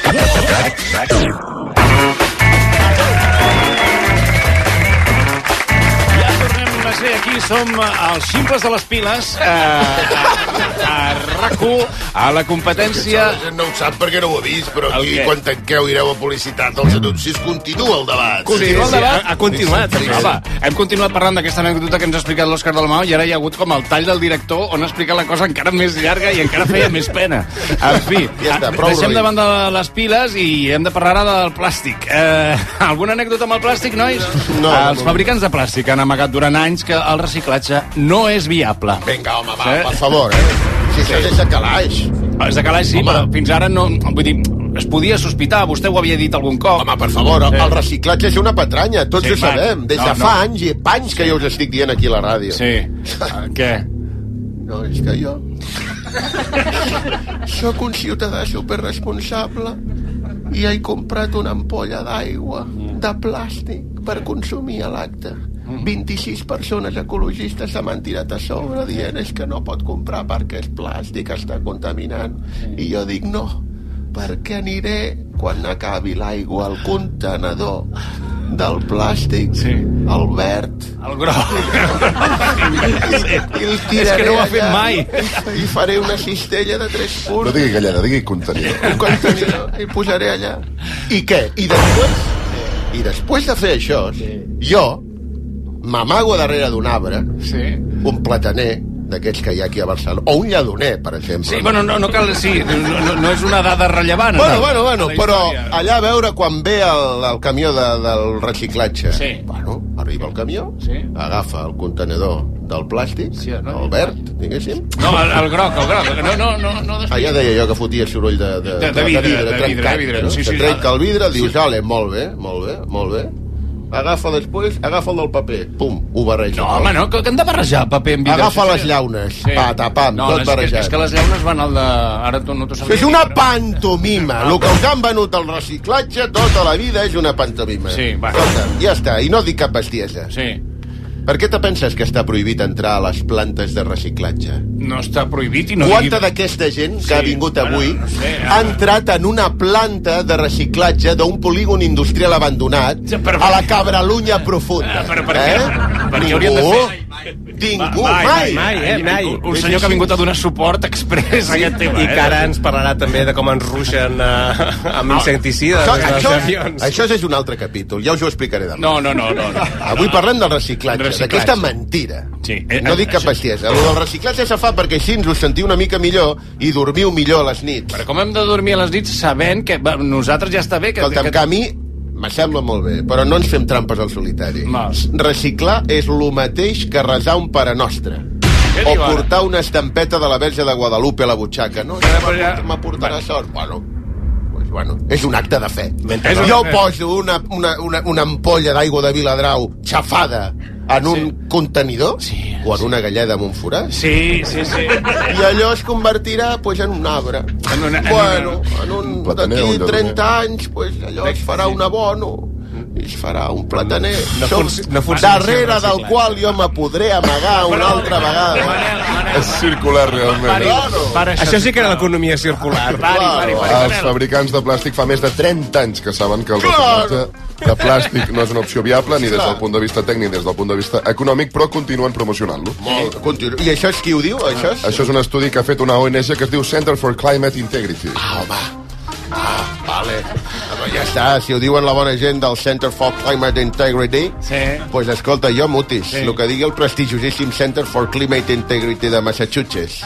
RAC. RAC. Va ser aquí, som eh, els ximples de les piles, eh, a, a RAC1, a la competència... La gent no ho sap perquè no ho ha vist, però El aquí què? quan tanqueu ireu a publicitat els anuncis, continua el debat. Continua el debat? ha, ha continuat. Sí, sí, Home, hem continuat parlant d'aquesta anècdota que ens ha explicat l'Òscar Dalmau i ara hi ha hagut com el tall del director on ha explicat la cosa encara més llarga i encara feia més pena. En fi, Ja està, ah, prou deixem rotllo. de banda les piles i hem de parlar ara del plàstic. Eh, alguna anècdota amb el plàstic, nois? No, els fabricants de plàstic han amagat durant anys que el reciclatge no és viable. Vinga, home, va, Sí. per favor, eh? Si això és de calaix. Ah, És de calaix, sí, Home. però fins ara no... Vull dir, es podia sospitar, vostè ho havia dit algun cop. Home, Per favor, el reciclatge és una petranya, tots Sí, ho va. sabem. Des de No, no. fa anys i panys que jo us estic dient aquí a la ràdio. Sí. Què? No, és que jo... Sóc un ciutadà superresponsable i he comprat una ampolla d'aigua de plàstic per consumir a l'acte. 26 persones ecologistes se m'han tirat a sobre dient és que no pot comprar perquè és plàstic, està contaminant. I jo dic no, perquè aniré quan acabi l'aigua al contenedor del plàstic, sí. el verd... El groc. I, i el tiraré És que no ho ha fet allà mai. I, i faré una cistella de tres punts No digui galleda, digui contenidor. un contenidor i ho posaré allà. I què? I després, i després de fer això, jo m'amago darrere d'un arbre, sí. un plataner d'aquests que hi ha aquí a Barcelona, o un lladoner, per exemple. Sí, bueno, no, no cal... Sí, no, no, no és una dada rellevant. Bueno, no? bueno, bueno, La però història. allà a veure quan ve el, el camió de, del reciclatge. Sí. Bueno, arriba el camió, sí. agafa el contenedor del plàstic, sí, no, el verd, diguéssim. No, el, el groc, el groc. No, no, no. no Allà deia jo que fotia soroll de, de, De- de vidre, de vidre, trencat, de vidre, No? Sí, sí, sí, sí, que trenca ja. el vidre, dius, Sí. sí. ale, molt bé, molt bé, molt bé. Agafa després, agafa el del paper, pum, ho barreja. No, home, no, que que hem de barrejar paper amb vidre. Agafa Sí, les sí. llaunes, pata, pam, no, tot les- barrejat. És que les llaunes van al de... Ara tu no t'ho sabia. És una pantomima. Ah, El que us han venut al reciclatge tota la vida és una pantomima. Sí, va. ja està, i no dic cap bestiesa. Sí. Per què te penses que està prohibit entrar a les plantes de reciclatge? No està prohibit i no Quanta digui... d'aquesta gent que ha vingut avui no sé, ha entrat en una planta de reciclatge d'un polígon industrial abandonat a la Cabrelunya profunda? Ah, eh? Però per què? Per què hauríem de Ningú? fer... Ningú, Mai, mai. mai, eh, mai. Un- Un senyor que ha vingut a donar suport express a aquest tema. I eh? que ara ens parlarà també de com ens ruixen eh, amb insecticides. Això, des dels això, avions. això és un altre capítol, ja us ho explicaré demà. No, no, no, no. no. Avui parlem del reciclatge, Reciclatge. Eh, d'aquesta mentira. Sí, No dic cap bestiesa. El del reciclatge se fa perquè així us sentiu una mica millor i dormiu millor a les nits. Però com hem de dormir a les nits sabent que va, nosaltres ja està bé que... Escolta'm, que... que a mi me sembla molt bé, però no ens fem trampes al solitari. Mas. Reciclar és el mateix que resar un pare nostre. O diu ara? portar una estampeta de la verge de Guadalupe a la butxaca. No, ja m'aportarà sort. Bueno, doncs, bueno, és un acte de fe. Mentre no- jo poso una, una, una, una ampolla d'aigua de Viladrau xafada en un contenidor o en una galleda amb un forat. Sí, sí, sí. I allò es convertirà pues, en un arbre. En una, bueno, en Un un... plataner, un D'aquí lladoner. 30 anys, pues, allò es farà un abono i es farà un plataner No Som- func- no funciona darrere el del reciclatge. qual jo me podré amagar una altra vegada És circular, realment. Això sí que era l'economia circular. Els fabricants de plàstic fa més de 30 anys que saben que el Claro. reciclatge de plàstic no és una opció viable ni des del punt de vista tècnic ni des del punt de vista econòmic, però continuen promocionant-lo. Molt, continu... I això és qui ho diu, això? És... Això és un estudi que ha fet una ONG que es diu Center for Climate Integrity. Ah, home. Vale. Però ja està, si ho diuen la bona gent del Center for Climate Integrity, sí. pues escolta, jo mutis, sí. el que digui el prestigiosíssim Center for Climate Integrity de Massachusetts.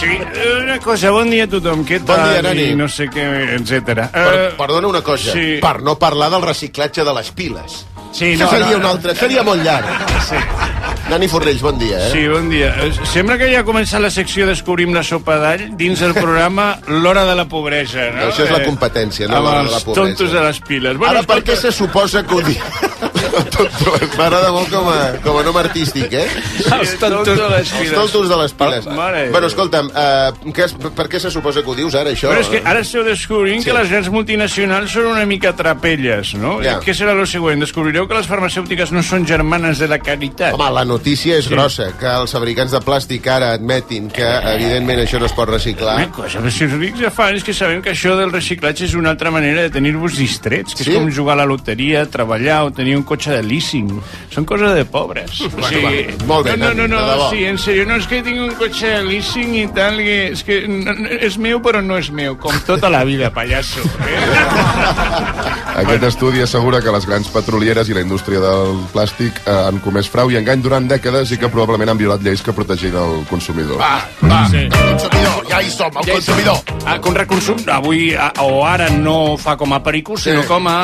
Sí, una cosa, bon dia a tothom. Què Bon dia, nani. I no sé què, etc. Per, perdona una cosa, Eh, sí. sí. per no parlar del reciclatge de les piles. Sí, Això no, seria no, un altre, seria molt llarg. Sí. Nani Fornells, bon dia, eh? Sí, bon dia. Eh, Sembla que ja ha començat la secció Descobrim la sopa d'all dins el programa L'hora de la pobresa, no? Això és la Eh, competència, no amb l'hora de els la pobresa. tontos de les piles. Bueno, Ara, per què se suposa que ho diu? M'agrada molt com a, com a nom artístic, eh? Els tontos de les piles. Els tontos de les piles. Mare de bueno, escolta'm, uh, què, es- per què se suposa que ho dius ara, això? Però és que ara esteu descobrint sí. que les grans multinacionals són una mica trapelles, no? Ja. Què serà el següent? Descobrireu Sabeu que les farmacèutiques no són germanes de la caritat? Home, la notícia és sí. grossa, que els fabricants de plàstic ara admetin que, evidentment, això no es pot reciclar. Una cosa, però si us ho dic ja fa anys que sabem que això del reciclatge és una altra manera de tenir-vos distrets, que sí? Sí? és com jugar a la loteria, treballar o tenir un cotxe de leasing. Són coses de pobres. Bueno, va, molt bé, no, Dani, no, no, de debò. no sí, en serio, no, és que tinc un cotxe de leasing i tal, que és que no, no, és meu però no és meu, com tota la vida, pallasso. eh? Aquest estudi assegura que les grans petrolieres i la indústria del plàstic eh, han comès frau i engany durant dècades i que probablement han violat lleis que protegin el consumidor. Va, va, sí. consumidor, ja hi som, el ja consumidor. Ah, Conreconsum avui a, o ara no fa com a perico, sinó sí. com a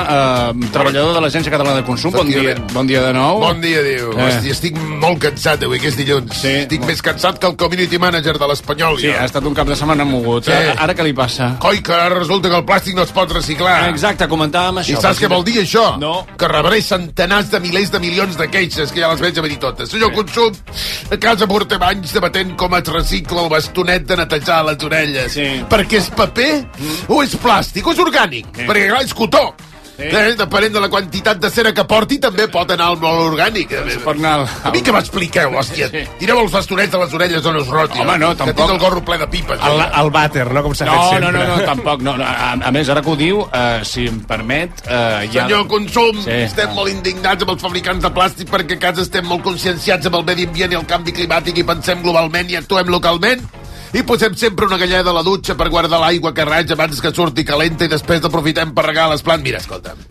eh, treballador de l'Agència Catalana de Consum. Bon dia, bon dia de nou. Bon dia, diu. Eh. Hosti, estic molt cansat avui, que és dilluns. Sí. Estic més cansat que el community manager de l'Espanyol. Sí, ha estat un cap de setmana mogut. Sí. Ara, ara què li passa? Coi, que ara resulta que el plàstic no es pot reciclar. Exacte, comentàvem això. I saps què vol dir, això? No. Que rebré centenars de milers de milions de queixes, que ja les veig a venir totes. Senyor sí. Consum, a casa portem anys debatent com es recicla el bastonet de netejar les orelles. Sí. Perquè és paper mm. o és plàstic o és orgànic? Sí. Perquè, clar, és cotó. Sí. Eh, depenent de la quantitat de cera que porti, també pot anar al molt orgànic. Pot anar al... A mi que m'expliqueu, hòstia. Sí. Tireu els bastonets de les orelles on us roti. Home, no, Que tampoc. tinc el gorro ple de pipes. Al- eh? El vàter, no? Com s'ha No, fet no, sempre. no, no, tampoc. No, no. A, a més, ara que ho diu, eh, si em permet... Eh, ja... Senyor Consum, Sí. sí. estem molt indignats amb els fabricants de plàstic perquè a casa estem molt conscienciats amb el medi ambient i el canvi climàtic i pensem globalment i actuem localment i posem sempre una galleda a la dutxa per guardar l'aigua que raig abans que surti calenta i després l'aprofitem per regar les plantes. Mira, escolta'm,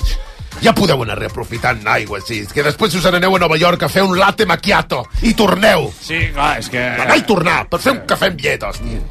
ja podeu anar reaprofitant l'aigua, sí. És que després us n'aneu a Nova York a fer un latte macchiato i torneu. Sí, clar, és que... Anar i tornar, per fer un cafè amb llet, hòstia.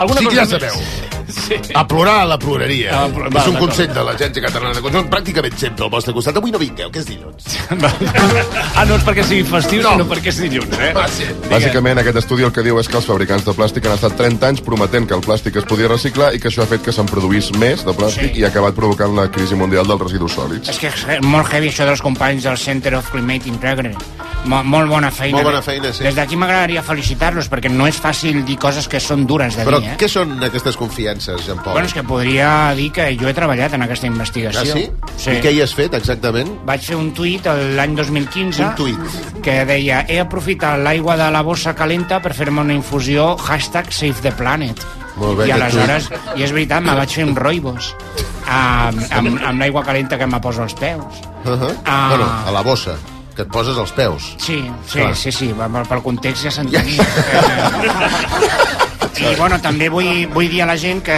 Alguna sí, cosa ja més? sabeu. Sí. A plorar a la ploreria. Ah, pl- va, és un d'acord. consell de l'Agència Catalana de Consum, pràcticament sempre al vostre costat. Avui no vingueu, que és dilluns. Ah, no és perquè sigui festiu, no. sinó perquè és dilluns, eh? Va, sí. Bàsicament, aquest estudi el que diu és que els fabricants de plàstic han estat 30 anys prometent que el plàstic es podia reciclar i que això ha fet que se'n produís més de plàstic sí. i ha acabat provocant la crisi mundial dels residus sòlids. És que és molt heavy això dels companys del Center of Climate Integrity. Mo molt bona feina. Molt bona feina, sí. Des d'aquí m'agradaria felicitar-los, perquè no és fàcil dir coses que són dures de Però dir, eh? què són aquestes confiances, Jean-Paul? Bueno, és que podria dir que jo he treballat en aquesta investigació. Ah, sí? sí. I què hi has fet, exactament? Vaig fer un tuit l'any 2015 Un tuit. que deia he aprofitat l'aigua de la bossa calenta per fer-me una infusió hashtag save the planet. Molt bé, I aquest aleshores, i és veritat, me vaig fer un roibos amb, amb, amb l'aigua calenta que me poso als peus. Uh -huh. Ah. Bueno, a la bossa, que et poses als peus. Sí, sí, Clar. sí, sí, va- va- pel context ja s'entenia. I, bueno, també vull, vull dir a la gent que,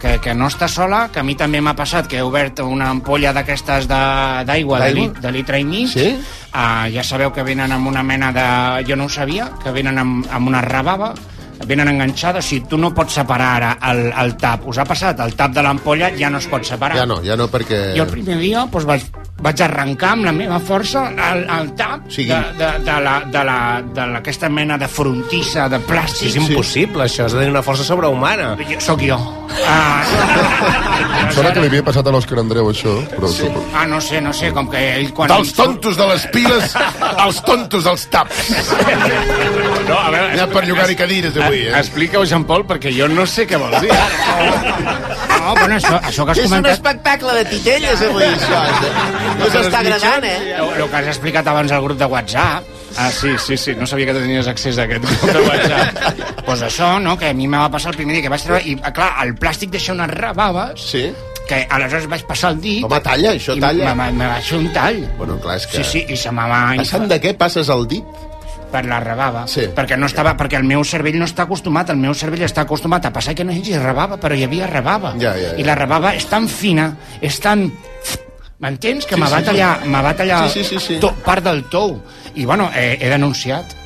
que, que no està sola, que a mi també m'ha passat que he obert una ampolla d'aquestes de- d'aigua de, D'aigua? lit- de litre i mig. Sí? Uh, ja sabeu que venen amb una mena de... Jo no ho sabia, que venen amb, amb una rebava venen enganxades, o sigui, tu no pots separar ara el, el tap. Us ha passat? El tap de l'ampolla ja no es pot separar. Ja no, ja no, Eh. perquè... Jo el primer dia doncs, vaig, vaig arrencar amb la meva força el, el tap Sí. de, de, de, la, de, la, de la, aquesta mena de frontissa de plàstic. És impossible, això. Has de tenir una força sobrehumana. Jo, soc jo. Ah, Em sembla que li havia passat a l'Òscar Andreu, això, però... Sí. Ah, no sé, no sé, com que ell quan... Dels tontos de les piles als tontos dels taps. No, a veure... Anar per llogar-hi cadires, avui, eh? Explica-ho, Jean-Paul, perquè jo no sé què vol dir. No, bueno, això, això que has És un comentat... espectacle de titelles, avui, això. eh? No us està agradant, eh? El, el que has explicat abans al grup de WhatsApp, Ah, sí, sí, sí, no sabia que tenies accés a aquest grup de WhatsApp. doncs pues això, no?, que a mi me va passar el primer dia que vaig treballar... I, ah, clar, el plàstic deixa unes rebaves Sí? que aleshores vaig passar el dit... Home, talla, això i talla. Me, me, me vaig fer un tall. Bueno, clar, és que... Sí, sí, i se me va... Passant de què passes el dit? per la rebava, sí. perquè no estava perquè el meu cervell no està acostumat, el meu cervell està acostumat a passar que no hi hagi rebava, però hi havia rebava. Ja, ja, ja. I la rebava és tan fina, és tan M'entens? Que Sí, sí, me va sí, tallar, sí. me va tallar Sí, sí, sí, sí. To, part del tou. I, bueno, eh, he denunciat. eh,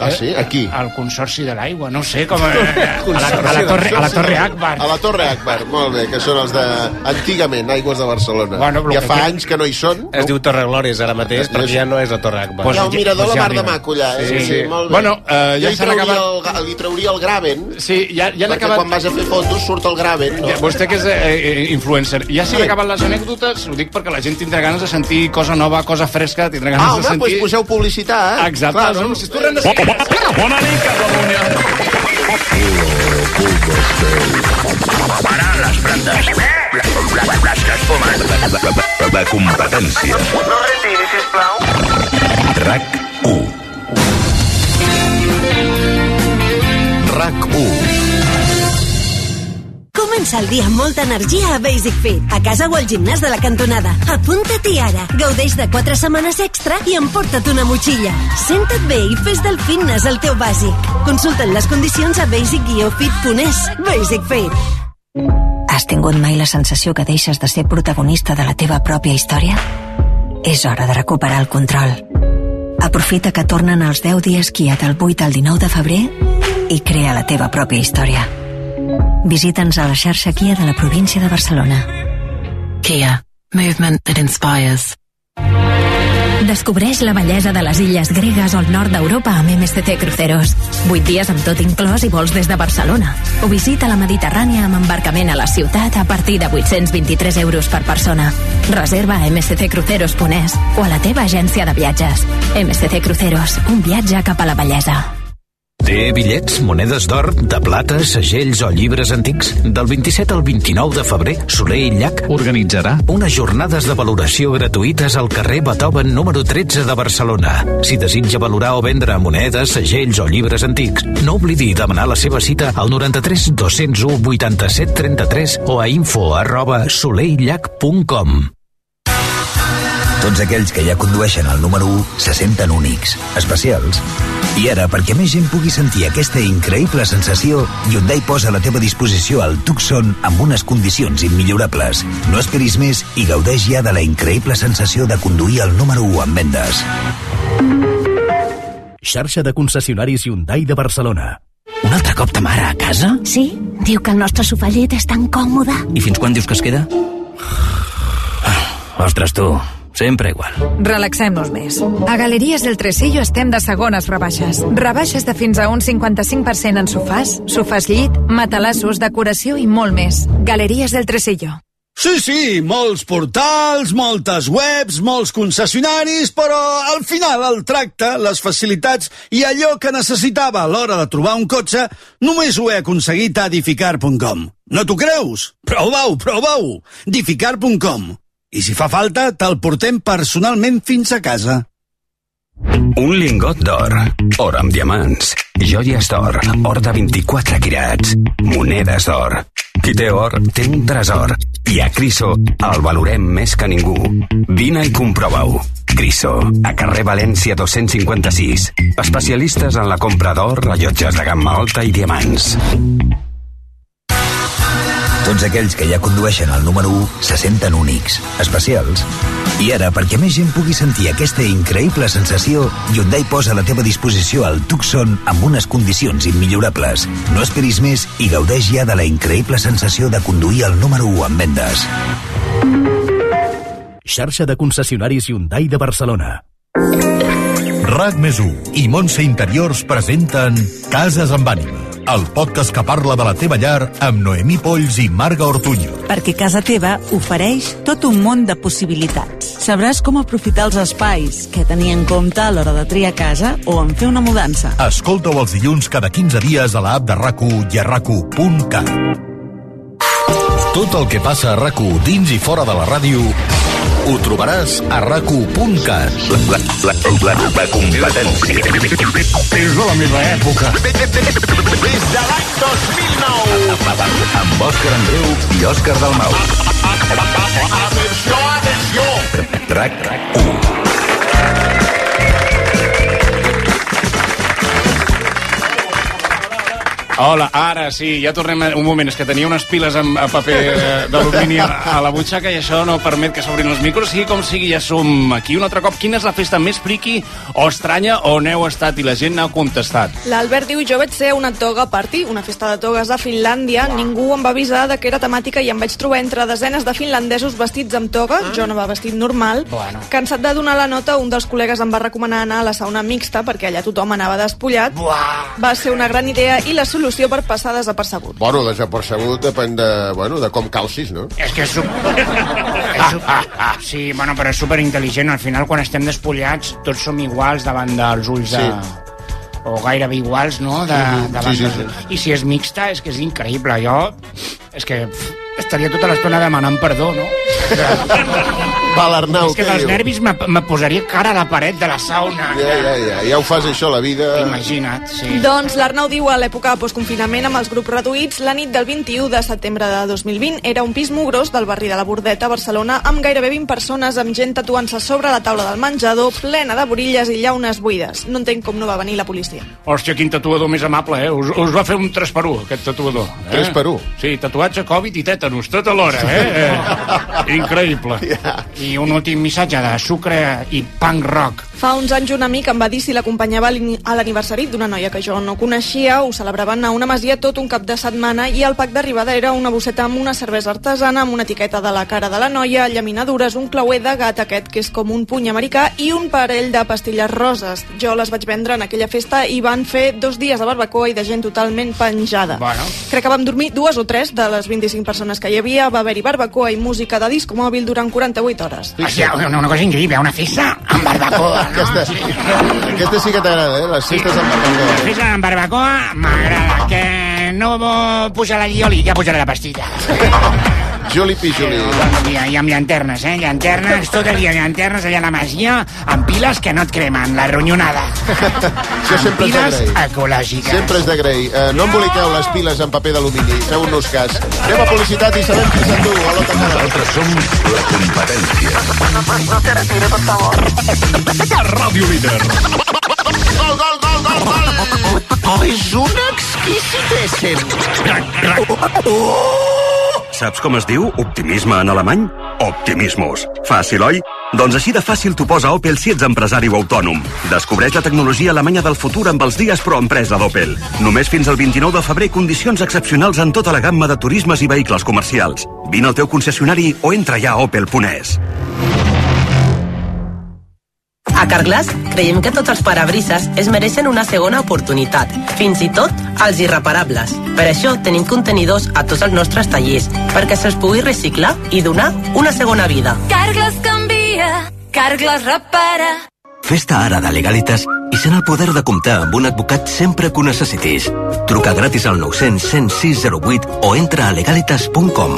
Ah, sí? Aquí? Al Consorci de l'Aigua, no sé com... Eh, a, la, a, la torre, a la Torre Akbar. A la Torre Akbar, molt bé, que són els de... Antigament, Aigües de Barcelona. Bueno, però ja que- fa anys que no hi són. Es diu Torre Glòries ara mateix, perquè Doncs ja no és la Torre Akbar. Eh, Hi ha un mirador a la Mar de Maco, allà, eh? Sí, sí. molt bé. Bueno, eh, ja Jo hi s'han trauria acabat- el ga- Li trauria el graven, Sí, ja, ja perquè han acabat... quan vas a fer fotos surt el graven, no? Ja, Vostè que és eh, eh, influencer. Ja s'han Sí. acabat les anècdotes, ho dic perquè la gent tindrà ganes de sentir cosa nova, cosa fresca, tindrà Ah, ganes de home, doncs sentir... pues poseu publicitat. Exacte, Clar, els no? anuncis. Tu rendes- Bona nit, Catalunya. Parar les Eh? brandes. Les que es fumen. La competència. No retiris comença el dia amb molta energia a Basic Fit. A casa o al gimnàs de la cantonada. Apunta-t'hi ara. Gaudeix de 4 setmanes extra i emporta't una motxilla. Senta't bé i fes del fitness el teu bàsic. Consulta't les condicions a basic-fit.es. Basic Fit. Has tingut mai la sensació que deixes de ser protagonista de la teva pròpia història? És hora de recuperar el control. Aprofita que tornen els 10 dies Kia del 8 al 19 de febrer i crea la teva pròpia història. Visita'ns a la xarxa Kia de la província de Barcelona. Kia. Movement that inspires. Descobreix la bellesa de les illes gregues al nord d'Europa amb MSC Cruceros. 8 dies amb tot inclòs i vols des de Barcelona. O visita la Mediterrània amb embarcament a la ciutat a partir de 823 euros per persona. Reserva a msccruceros.es o a la teva agència de viatges. MSC Cruceros, un viatge cap a la bellesa. Té bitllets, monedes d'or, de plata, segells o llibres antics? Del 27 al 29 de febrer, Soler i Llach organitzarà unes jornades de valoració gratuïtes al carrer Beethoven número 13 de Barcelona. Si desitja valorar o vendre monedes, segells o llibres antics, no oblidi demanar la seva cita al 93 201 87 33 o a info arroba soleillach.com. Tots aquells que ja condueixen el número 1 se senten únics, especials. I ara, perquè més gent pugui sentir aquesta increïble sensació, Hyundai posa a la teva disposició el Tucson amb unes condicions immillorables. No esperis més i gaudeix ja de la increïble sensació de conduir el número 1 en vendes. Xarxa de concessionaris Hyundai de Barcelona. Un altre cop ta mare a casa? Sí, diu que el nostre sofà llit és tan còmode. I fins quan dius que es queda? Ah, Ostres, tu, sempre igual. Relaxem-nos més. A Galeries del Tresillo estem de segones rebaixes. Rebaixes de fins a un 55% en sofàs, sofàs llit, matalassos, decoració i molt més. Galeries del Tresillo. Sí, sí, molts portals, moltes webs, molts concessionaris, però al final el tracte, les facilitats i allò que necessitava a l'hora de trobar un cotxe només ho he aconseguit a edificar.com. No t'ho creus? Prova-ho, prova-ho! edificar.com. I si fa falta, te'l portem personalment fins a casa. Un lingot d'or, or amb diamants, joies d'or, or de 24 quirats, monedes d'or. Qui té or té un tresor i a Criso el valorem més que ningú. Vine i comprova-ho. Criso, a carrer València 256. Especialistes en la compra d'or, rellotges de gamma alta i diamants. Tots aquells que ja condueixen el número 1 se senten únics, especials. I ara, perquè més gent pugui sentir aquesta increïble sensació, Hyundai posa a la teva disposició el Tucson amb unes condicions immillorables. No esperis més i gaudeix ja de la increïble sensació de conduir el número 1 en vendes. Xarxa de concessionaris Hyundai de Barcelona. RAC més 1 i Montse Interiors presenten Cases amb ànima, el podcast que parla de la teva llar amb Noemí Polls i Marga Ortuño. perquè casa teva ofereix tot un món de possibilitats. Sabràs com aprofitar els espais, què tenir en compte a l'hora de triar casa o en fer una mudança. Escolta-ho els dilluns cada 15 dies a l'app de rac i a rac Tot el que passa a rac dins i fora de la ràdio ho trobaràs a rac La, la, la, la, la competència. És de la meva època. Des de l'any 2009. Amb Òscar Andreu i Òscar Dalmau. Atenció, atenció. RAC Hola, ara sí, ja tornem... a- Un moment, és que tenia unes piles amb a paper eh, d'alumini a, a la butxaca i això no permet que s'obrin els micros. Sigui com sigui, ja som aquí un altre cop. Quina és la festa més friqui o estranya on heu estat? I la gent n'ha contestat. L'Albert diu, jo vaig ser a una toga party, una festa de togues a Finlàndia. Ningú em va avisar de que era temàtica i em vaig trobar entre desenes de finlandesos vestits amb toga, jo no va vestit normal. Bueno. Cansat de donar la nota, un dels col·legues em va recomanar anar a la sauna mixta perquè allà tothom anava despullat. Buah. Va ser una gran idea i la solució per passar desapercebut. Bueno, desapercebut depèn de, bueno, de com calcis, no? És que és... Su... és su... Ah, Sí, bueno, però és superintel·ligent. Al final, quan estem despullats, tots som iguals davant dels ulls de... Sí. o gairebé iguals, no? De, Sí, sí, sí, davant sí, dels- I si és mixta, és que és increïble. Jo, és que pff, estaria tota l'estona demanant perdó, no? Va, l'Arnau, És que què dels diu? nervis me, me posaria cara a la paret de la sauna. Ja, ja, ja, ja ho fas això, la vida... Imagina't, sí. Doncs l'Arnau diu a l'època postconfinament amb els grups reduïts, la nit del 21 de setembre de 2020 era un pis mugrós del barri de la Bordeta, a Barcelona, amb gairebé 20 persones amb gent tatuant-se sobre la taula del menjador, plena de borilles i llaunes buides. No entenc com no va venir la policia. Hòstia, quin tatuador més amable, eh? Us, us va fer un 3 per 1, aquest tatuador. Eh? 3 per 1? Sí, tatuatge, Covid i tètanus, tot alhora, eh? eh? Increïble. Yeah. I un últim missatge de sucre i punk rock. Fa uns anys un amic em va dir si l'acompanyava a l'ini- a l'aniversari d'una noia que jo no coneixia, ho celebraven a una masia tot un cap de setmana i el pack d'arribada era una bosseta amb una cervesa artesana, amb una etiqueta de la cara de la noia, llaminadures, un clauer de gat aquest que és com un puny americà i un parell de pastilles roses. Jo les vaig vendre en aquella festa i van fer dos dies de barbacoa i de gent totalment penjada. Bueno. Crec que vam dormir dues o tres de les 25 persones que hi havia, va haver-hi barbacoa i música de disco mòbil durant 48 hores. Hòstia, una, una cosa increïble, una festa amb barbacoa, no? Aquesta, aquesta sí que t'agrada, eh? Les festes amb barbacoa. La festa amb barbacoa m'agrada, que no vo- posarà lioli, ja posarà la pastilla. Eh, Juli Pijuli. I, I amb llanternes, eh? Llanternes, tot el dia llanternes allà a la masia, amb piles que no et cremen, la ronyonada. Això sempre és Piles d'agrair. ecològiques. Sempre és d'agrair. Eh, no emboliqueu les piles en paper d'alumini, feu-nos cas. Anem a publicitat i sabem qui s'endú a l'Ota Nosaltres som la competència. No te retires, por favor. Ràdio Líder. Gol, gol, gol, gol, gol. Oh, és un exquisitéssim. Saps com es diu optimisme en alemany? Optimismus. Fàcil, oi? Doncs així de fàcil t'ho posa Opel si ets empresari o autònom. Descobreix la tecnologia alemanya del futur amb els dies pro empresa d'Opel. Només fins al 29 de febrer condicions excepcionals en tota la gamma de turismes i vehicles comercials. Vine al teu concessionari o entra ja a opel.es. A Carglass creiem que tots els parabrises es mereixen una segona oportunitat, fins i tot els irreparables. Per això tenim contenidors a tots els nostres tallers, perquè se'ls pugui reciclar i donar una segona vida. Cargles canvia, Cargles repara. Fes-te ara de Legalitas i sent el poder de comptar amb un advocat sempre que ho necessitis. Truca gratis al 900 106 08 o entra a legalitas.com.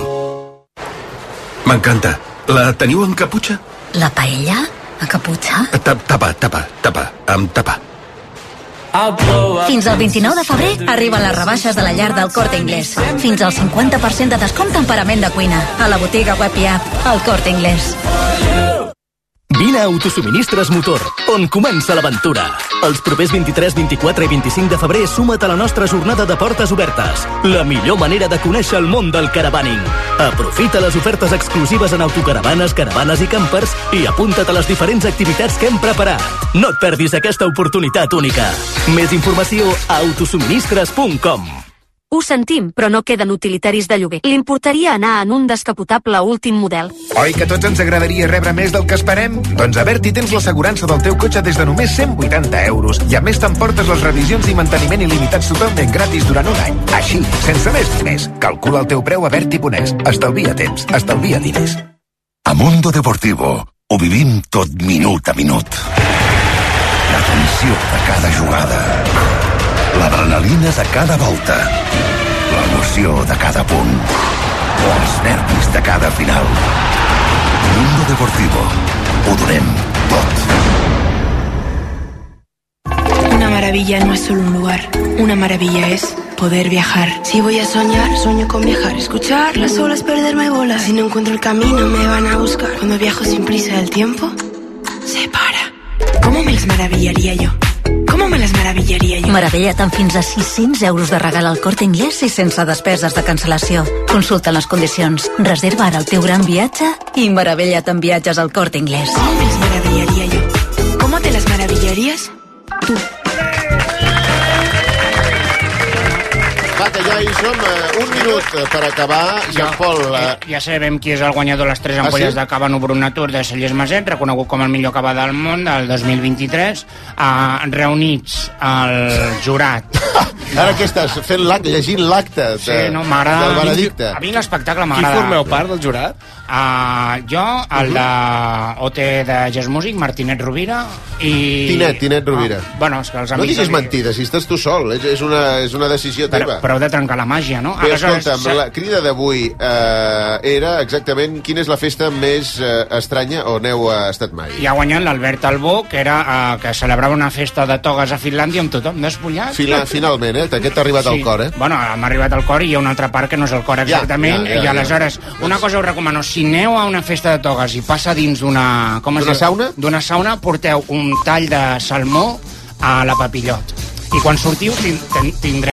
M'encanta. La teniu amb caputxa? La paella? A caputxa? Eh, Ta- Tapa, tapa, tapa, amb tapa. Fins al 29 de febrer arriben les rebaixes de la llar del Corte Inglés. Fins al 50% de descompte en parament de cuina. A la botiga web i app, el Corte Inglés. Vine a Autosuministres Motor, on comença l'aventura. Els propers 23, 24 i 25 de febrer suma't a la nostra jornada de portes obertes. La millor manera de conèixer el món del caravaning. Aprofita les ofertes exclusives en autocaravanes, caravanes i campers i apunta't a les diferents activitats que hem preparat. No et perdis aquesta oportunitat única. Més informació a autosuministres.com. Ho sentim, però no queden utilitaris de lloguer. L'importaria anar en un descapotable últim model. Oi que a tots ens agradaria rebre més del que esperem? Doncs a Berti tens l'assegurança del teu cotxe des de només 180 euros i a més t'emportes les revisions i manteniment il·limitats totalment gratis durant un any. Així, sense més diners. Calcula el teu preu a Berti Ponés. Estalvia temps, estalvia diners. A Mundo Deportivo ho vivim tot minut a minut. La tensió de cada jugada. L'adrenalina de cada volta. L'emoció de cada punt. O els nervis de cada final. Mundo Deportivo. Ho donem tot. Una maravilla no es solo un lugar, una maravilla es poder viajar. Si voy a soñar, sueño con viajar, escuchar las olas, perderme y volar. Si no encuentro el camino, me van a buscar. Cuando viajo sin prisa, el tiempo se para. ¿Cómo me las maravillaría yo? ¿Cómo me las maravillaría yo? Meravella't amb fins a 600 euros de regal al Corte Inglés i sense despeses de cancel·lació. Consulta les condicions. Reserva ara el teu gran viatge i meravella't amb viatges al Corte Inglés. ¿Cómo te las maravillarías? Va, que ja hi som. eh, Un minut eh, per acabar. Jean Paul, eh, Ja sabem qui és el guanyador de les tres ampolles Ah, ah, sí? sí? de Cava Nobru Natur de Cellers Maset, reconegut com el millor cava del món del 2023, eh, reunits al jurat. Ara què estàs fent l'acte, llegint l'acte de, Sí, no, m'agrada... del Benedicte? A mi l'espectacle m'agrada. Qui formeu part del jurat? Uh, jo, el de OT de Jazz Music, Martinet Rovira, i... Tinet, Tinet Rovira. Ah, bueno, és que els No amics... diguis mentides, si estàs tu sol, és, és, una, és una decisió Però, teva. però heu de trencar la màgia, no? Bé, Aleshores, escolta'm, s'ha- la crida d'avui eh, era exactament quina és la festa més eh, estranya on heu eh, estat mai. I ha guanyat l'Albert Albó, que, era, eh, que celebrava una festa de togues a Finlàndia amb tothom despullat. Fila, finalment, eh? Aquest t'ha arribat sí. al cor, eh? Bueno, m'ha arribat al cor i hi ha una altra part que no és el cor exactament, ja, ja, i ja. aleshores, una cosa us recomano, si aneu a una festa de togues i passa dins d'una... com es D'una diu? sauna? D'una sauna, porteu un tall de salmó a la papillot. I quan sortiu tin- ten- tindreu